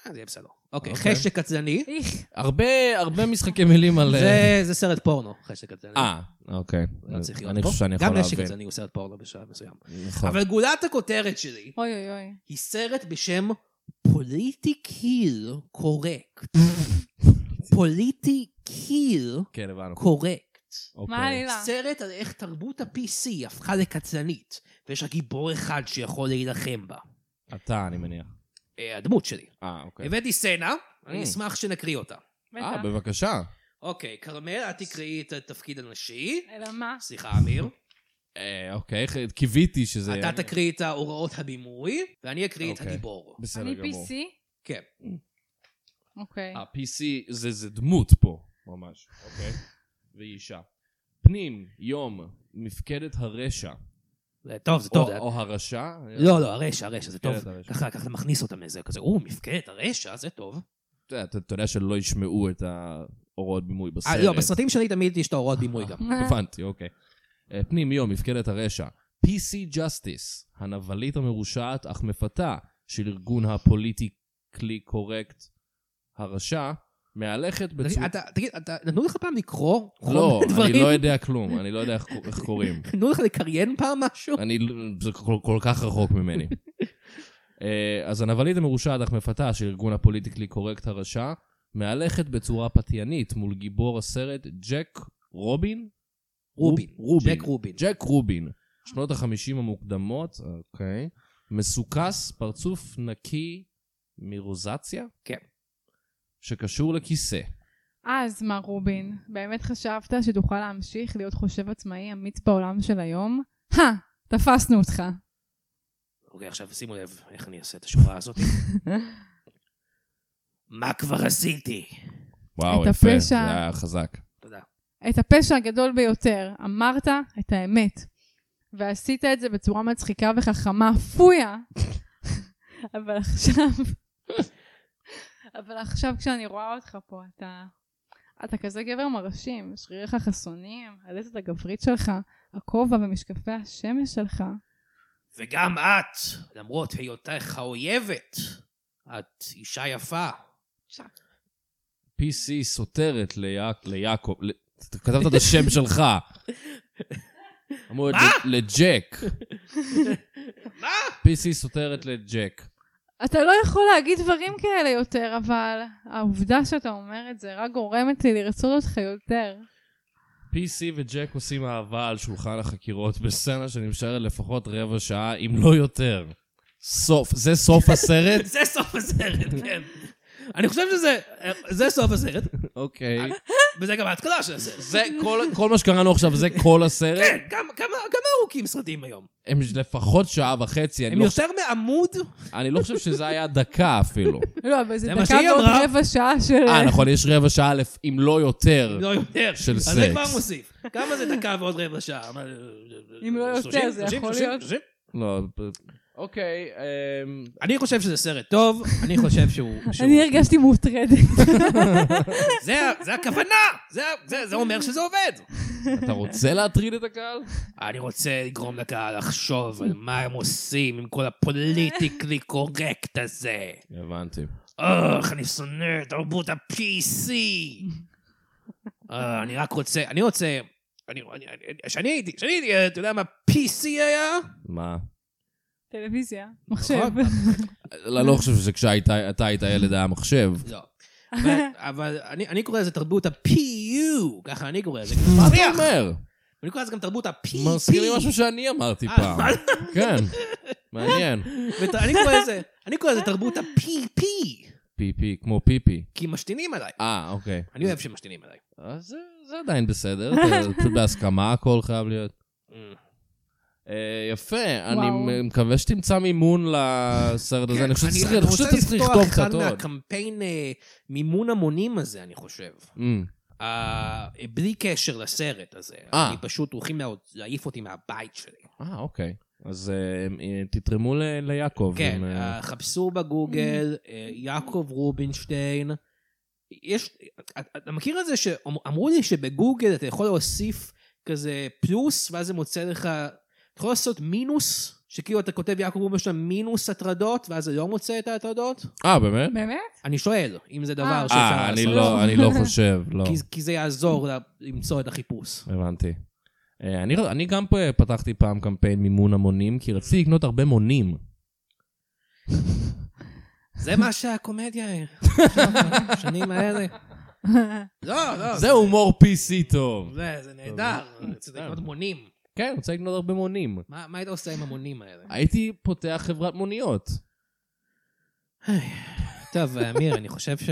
Speaker 3: אה, זה יהיה בסדר. אוקיי,
Speaker 2: אוקיי.
Speaker 3: חשק קטלני.
Speaker 4: איך.
Speaker 2: הרבה, הרבה משחקי מילים על... אה,
Speaker 3: זה- זה סרט פורנו, חשק קטלני.
Speaker 2: אה, אוקיי.
Speaker 3: לא צריך להיות
Speaker 2: אני
Speaker 3: פה.
Speaker 2: חושב שאני יכול
Speaker 3: גם
Speaker 2: להבין.
Speaker 3: נשק קטלני הוא סרט פורנו בשלב מסוים.
Speaker 2: נכון.
Speaker 3: אבל גולת הכותרת שלי
Speaker 4: אוי אוי אוי.
Speaker 2: אוקיי.
Speaker 3: היא סרט בשם פוליטיקיל קורקט. פוליטיקיל
Speaker 2: כן, הבנו.
Speaker 3: קורקט.
Speaker 2: אוקיי.
Speaker 4: מה
Speaker 3: לא-
Speaker 4: העלילה?
Speaker 3: סרט על איך תרבות ה-PC הפכה לקטלנית, ויש רק גיבור אחד שיכול להילחם בה.
Speaker 2: אתה, אני מניח.
Speaker 3: אה, הדמות שלי.
Speaker 2: אה, אוקיי.
Speaker 3: הבאתי סצנה, אני
Speaker 2: Mm.
Speaker 3: אשמח שנקריא אותה.
Speaker 2: אה,
Speaker 4: בטח.
Speaker 2: בבקשה.
Speaker 3: אוקיי, כרמל, את תקראי את התפקיד הנשי.
Speaker 4: אלא מה?
Speaker 3: סליחה, אמיר.
Speaker 2: אה, אוקיי, ח- קיוויתי שזה... יהיה-
Speaker 3: אתה תקריא את ההוראות הבימוי, ואני אקריא את
Speaker 2: אוקיי.
Speaker 3: הגיבור.
Speaker 2: בסדר
Speaker 4: אני
Speaker 2: גמור.
Speaker 4: PC?
Speaker 3: כן.
Speaker 4: אוקיי.
Speaker 2: אה, PC זה זה דמות פה, ממש. אוקיי. והיא אישה. פנים, יום, מפקדת הרשע.
Speaker 3: זה טוב, זה
Speaker 2: או
Speaker 3: טוב. זה-
Speaker 2: או הרשע?
Speaker 3: לא, לא, הרשע, הרשע, זה טוב.
Speaker 2: מפקדת כן, הרשע.
Speaker 3: ככה, ככה אתה מכניס אותם לזה, כזה, או, מפקדת הרשע, זה טוב.
Speaker 2: אתה יודע, אתה- אתה יודע שלא ישמעו את ההוראות בימוי בסרט.
Speaker 3: אה, לא, בסרטים שלי תמיד יש את ההוראות
Speaker 2: אה.
Speaker 3: בימוי גם.
Speaker 2: הבנתי, אוקיי. אה, פנים יום, מפקדת הרשע. PC Justice, הנבלית המרושעת אך מפתה של ארגון הפוליטיקלי קורקט הרשע, מהלכת
Speaker 3: תגיד,
Speaker 2: בצורה...
Speaker 3: אתה, תגיד, אתה, נתנו לך פעם לקרוא?
Speaker 2: לא,
Speaker 3: כל מיני
Speaker 2: אני
Speaker 3: דברים?
Speaker 2: לא יודע כלום, אני לא יודע איך קור- איך קוראים.
Speaker 3: נתנו לך לקריין פעם משהו?
Speaker 2: אני, לא, זה כל, כל כך רחוק ממני. אה, אז הנבלית המרושעת אך מפתה של ארגון הפוליטיקלי קורקט הרשע, מהלכת בצורה פתיינית מול גיבור הסרט ג'ק רובין?
Speaker 3: רובין.
Speaker 2: רובין.
Speaker 3: ג'ק רובין.
Speaker 2: ג'ק רובין, שנות החמישים המוקדמות, אוקיי, מסוכס, פרצוף נקי מרוזציה?
Speaker 3: כן.
Speaker 2: שקשור לכיסא.
Speaker 4: אז מה רובין, באמת חשבת שתוכל להמשיך להיות חושב עצמאי אמיץ בעולם של היום? הא, תפסנו אותך.
Speaker 3: אוקיי, עכשיו שימו לב איך אני אעשה את השורה הזאת. מה כבר עשיתי?
Speaker 2: וואו,
Speaker 4: את
Speaker 2: יפה,
Speaker 4: הפשע.
Speaker 2: זה היה חזק.
Speaker 3: תודה.
Speaker 4: את הפשע הגדול ביותר, אמרת את האמת. ועשית את זה בצורה מצחיקה וחכמה, פויה. אבל עכשיו... אבל עכשיו כשאני רואה אותך פה, אתה... אתה כזה גבר מרשים, שריריך חסונים, הלסת הגברית שלך, הכובע ומשקפי השמש שלך.
Speaker 3: וגם את, למרות היותך האויבת, את אישה יפה.
Speaker 2: PC סותרת ליעק- ליעקב, ל- אתה כתבת את השם שלך. אמור להיות ל- לג'ק.
Speaker 3: מה?
Speaker 2: PC סותרת לג'ק.
Speaker 4: אתה לא יכול להגיד דברים כאלה יותר, אבל העובדה שאתה אומר את זה רק גורמת לי לרצות אותך יותר.
Speaker 2: PC וג'ק עושים אהבה על שולחן החקירות בסצנה שנמשכת לפחות רבע שעה, אם לא יותר. סוף, זה סוף הסרט?
Speaker 3: זה סוף הסרט, כן. אני חושב שזה, זה סוף הסרט, אה,
Speaker 2: אוקיי.
Speaker 3: וזה גם ההתחלה של הסרט.
Speaker 2: זה כל, כל מה שקראנו עכשיו, זה כל הסרט?
Speaker 3: כן, כמה, כמה, כמה ארוכים סרטים היום?
Speaker 2: הם לפחות שעה וחצי, אני
Speaker 3: הם
Speaker 2: לא,
Speaker 3: יותר מעמוד?
Speaker 2: אני לא חושב שזה היה דקה אפילו.
Speaker 4: לא, אבל זה
Speaker 3: זה מה
Speaker 4: דקה
Speaker 3: שהיא
Speaker 4: ועוד
Speaker 3: אמרה.
Speaker 4: רבע שעה של...
Speaker 2: אה, נכון, יש רבע שעה, אלף, אם לא יותר.
Speaker 3: לא יותר.
Speaker 2: של
Speaker 3: אז זה
Speaker 2: סקס.
Speaker 3: כבר מוסיף. כמה זה דקה ועוד רבע שעה? מה,
Speaker 4: אם לא יותר,
Speaker 3: 30?
Speaker 4: זה
Speaker 3: 30?
Speaker 4: יכול
Speaker 3: 30?
Speaker 4: להיות.
Speaker 3: 30?
Speaker 2: לא, אוקיי, אמ,
Speaker 3: אני חושב שזה סרט טוב, אני חושב שהוא... שהוא-
Speaker 4: אני הרגשתי מוטרדת.
Speaker 3: זה ה- זה הכוונה! זה ה- זה- זה אומר שזה עובד!
Speaker 2: אתה רוצה להטריד את הקהל?
Speaker 3: אני רוצה לגרום לקהל לחשוב על מה הם עושים עם כל הפוליטיקלי קורקט הזה.
Speaker 2: הבנתי.
Speaker 3: אוח, אני שונא את תרבות ה-PC. אה, אני רק רוצה, אני רוצה, אני, אני, אני- כשאני הייתי, כשאני הייתי, ילד, אתה יודע מה PC היה?
Speaker 2: מה?
Speaker 4: טלוויזיה, מחשב.
Speaker 3: נכון.
Speaker 2: אני לא חושב שכשאתה היית ילד היה מחשב.
Speaker 3: לא. אבל, אבל אני, אני קורא לזה תרבות ה-PU, ככה אני קורא לזה, כי זה מפריח.
Speaker 2: אומר,
Speaker 3: אני קורא לזה גם תרבות ה-PP.
Speaker 2: מזכיר לי משהו שאני אמרתי
Speaker 3: אה,
Speaker 2: פעם.
Speaker 3: מה?
Speaker 2: כן, מעניין.
Speaker 3: ות- אני קורא לזה, אני קורא לזה תרבות ה-PP,
Speaker 2: פיפי, כמו פיפי.
Speaker 3: כי משתינים עליי.
Speaker 2: אה, אוקיי.
Speaker 3: אני אוהב שמשתינים עליי.
Speaker 2: אז זה- זה עדיין בסדר, זה פשוט בהסכמה הכל חייב להיות. אה, יפה, אני
Speaker 4: וואו.
Speaker 2: מקווה שתמצא מימון לסרט הזה, אני חושב שצריך אני חושב שצריך לכתוב
Speaker 3: אני כן, רוצה לפתוח
Speaker 2: קצת
Speaker 3: אחד
Speaker 2: עוד.
Speaker 3: מהקמפיין אה, מימון המונים הזה, אני חושב.
Speaker 2: אמ,
Speaker 3: אה, בלי קשר לסרט הזה.
Speaker 2: אה.
Speaker 3: אני פשוט הולכים להוד- להעיף אותי מהבית שלי.
Speaker 2: אה, אוקיי. אז אה, אה, תתרמו ל- ליעקב.
Speaker 3: כן,
Speaker 2: אם, אה,
Speaker 3: אה, חפשו בגוגל, אה, יעקב רובינשטיין. יש, אתה מכיר את זה שאמרו לי שבגוגל אתה יכול להוסיף כזה פלוס, ואז זה מוצא לך, אתה יכול לעשות מינוס, שכאילו אתה כותב יעקב רובינשטיין מינוס הטרדות, ואז זה לא מוצא את ההטרדות?
Speaker 2: אה, באמת?
Speaker 4: באמת?
Speaker 3: אני שואל, אם זה דבר
Speaker 4: אה.
Speaker 3: שאפשר לעשות.
Speaker 2: אה, אני לא, אני לא חושב, לא.
Speaker 3: כי, כי זה יעזור לה- למצוא את החיפוש.
Speaker 2: הבנתי. אה, אני, אני גם פה פתחתי פעם קמפיין מימון המונים, כי רציתי לקנות הרבה מונים.
Speaker 3: זה מה שהקומדיה היא. השנים האלה. לא, לא.
Speaker 2: זה הומור PC טוב.
Speaker 3: זה, זה נהדר.
Speaker 2: טוב.
Speaker 3: זה לקנות מונים.
Speaker 2: כן, רוצה לקנות הרבה מונים.
Speaker 3: מה מה היית עושה עם המונים האלה?
Speaker 2: הייתי פותח חברת מוניות.
Speaker 3: טוב, אה, אמיר, אני חושב ש...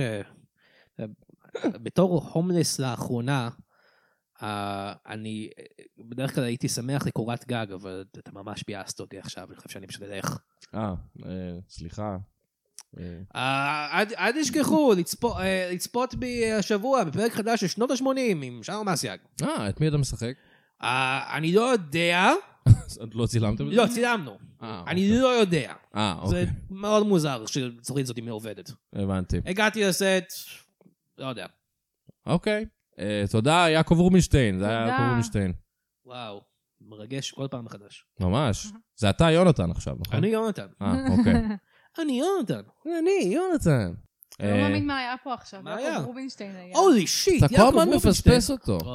Speaker 3: בתור הומלס לאחרונה, אה, אני בדרך כלל הייתי שמח לקורת גג, אבל אתה ממש ביאסת אותי עכשיו, אני חושב שאני פשוט אלך.
Speaker 2: אה, אה, סליחה. אה,
Speaker 3: אה, אל- אל תשכחו לצפו- אה, לצפות בי השבוע בפרק חדש של שנות ה-80 עם שלום אסיאג.
Speaker 2: אה, את מי אתה משחק?
Speaker 3: אה, אני לא יודע,
Speaker 2: עוד לא צילמתם את זה?
Speaker 3: לא, צילמנו.
Speaker 2: אה,
Speaker 3: אני לא יודע.
Speaker 2: אה,
Speaker 3: זה
Speaker 2: אוקיי.
Speaker 3: מאוד מוזר שהצורית הזאת היא מעובדת.
Speaker 2: הבנתי.
Speaker 3: הגעתי לסט, לא יודע.
Speaker 2: אוקיי. אה, תודה, יעקב רובינשטיין. זה היה
Speaker 4: תודה.
Speaker 2: יעקב רובינשטיין.
Speaker 3: וואו, מרגש כל פעם מחדש.
Speaker 2: ממש. זה אתה, יונתן, עכשיו, נכון?
Speaker 3: אני יונתן.
Speaker 2: אה, אוקיי.
Speaker 3: אני יונתן.
Speaker 2: אני, יונתן.
Speaker 4: לא
Speaker 2: אה,
Speaker 4: מאמין מה היה פה עכשיו.
Speaker 3: מה
Speaker 4: יעקב
Speaker 3: היה?
Speaker 4: רובינשטיין היה.
Speaker 3: הולי שיט,
Speaker 2: אתה כל הזמן מפספס אותו.
Speaker 3: לא.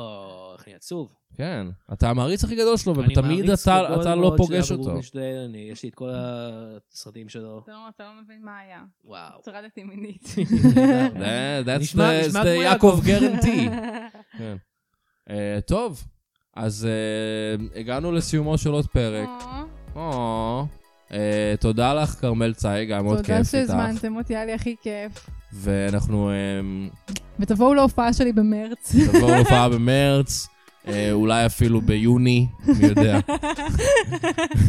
Speaker 3: או, איך אני עצוב.
Speaker 2: כן. אתה המעריץ הכי גדול שלו,
Speaker 3: אני
Speaker 2: ותמיד
Speaker 3: מעריץ
Speaker 2: אתה-
Speaker 3: גדול
Speaker 2: אתה לא
Speaker 3: מאוד של
Speaker 2: פוגש
Speaker 3: יעקב
Speaker 2: אותו.
Speaker 3: רובינשטיין, אני- יש לי את כל הסרטים שלו.
Speaker 4: אתה לא- אתה לא מבין מה היה.
Speaker 3: וואו.
Speaker 4: הוטרדתי מינית.
Speaker 2: That- That's
Speaker 3: אה, נשמע-
Speaker 2: the-
Speaker 3: נשמע
Speaker 2: that's the
Speaker 3: כמו
Speaker 2: יעקב
Speaker 3: יעקב.
Speaker 2: גרנטי. כן. אה, טוב, אז אה, הגענו לסיומו של עוד פרק.
Speaker 4: או,
Speaker 2: או, אה, תודה לך, כרמל צייג, היה מאוד
Speaker 4: תודה
Speaker 2: כיף איתך.
Speaker 4: שהזמנתם אותי, היה לי הכי כיף.
Speaker 2: ואנחנו אה,
Speaker 4: ותבואו להופעה שלי במרץ.
Speaker 2: נבוא להופעה במרץ, אה, אולי אפילו ביוני, מי יודע.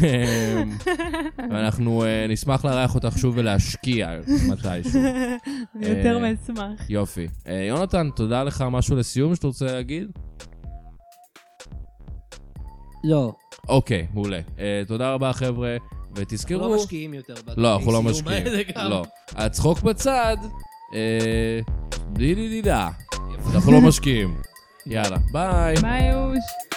Speaker 2: אה, ואנחנו אה, נשמח לארח אותך שוב ולהשקיע מתישהו.
Speaker 4: אני יותר
Speaker 2: אה,
Speaker 4: מאשמח.
Speaker 2: יופי. אה, יונתן, תודה לך, משהו לסיום שאתה רוצה להגיד?
Speaker 3: לא.
Speaker 2: אוקיי, מעולה. אה, תודה רבה, חבר'ה,
Speaker 3: אנחנו
Speaker 2: ותזכרו...
Speaker 3: לא משקיעים יותר.
Speaker 2: כאילו- לא, אנחנו לא
Speaker 3: בסיום
Speaker 2: משקיעים.
Speaker 3: האלה גם.
Speaker 2: לא. הצחוק בצד, אה, די די די דה. אנחנו לא משקיעים. יאללה, ביי.
Speaker 4: ביי אוש.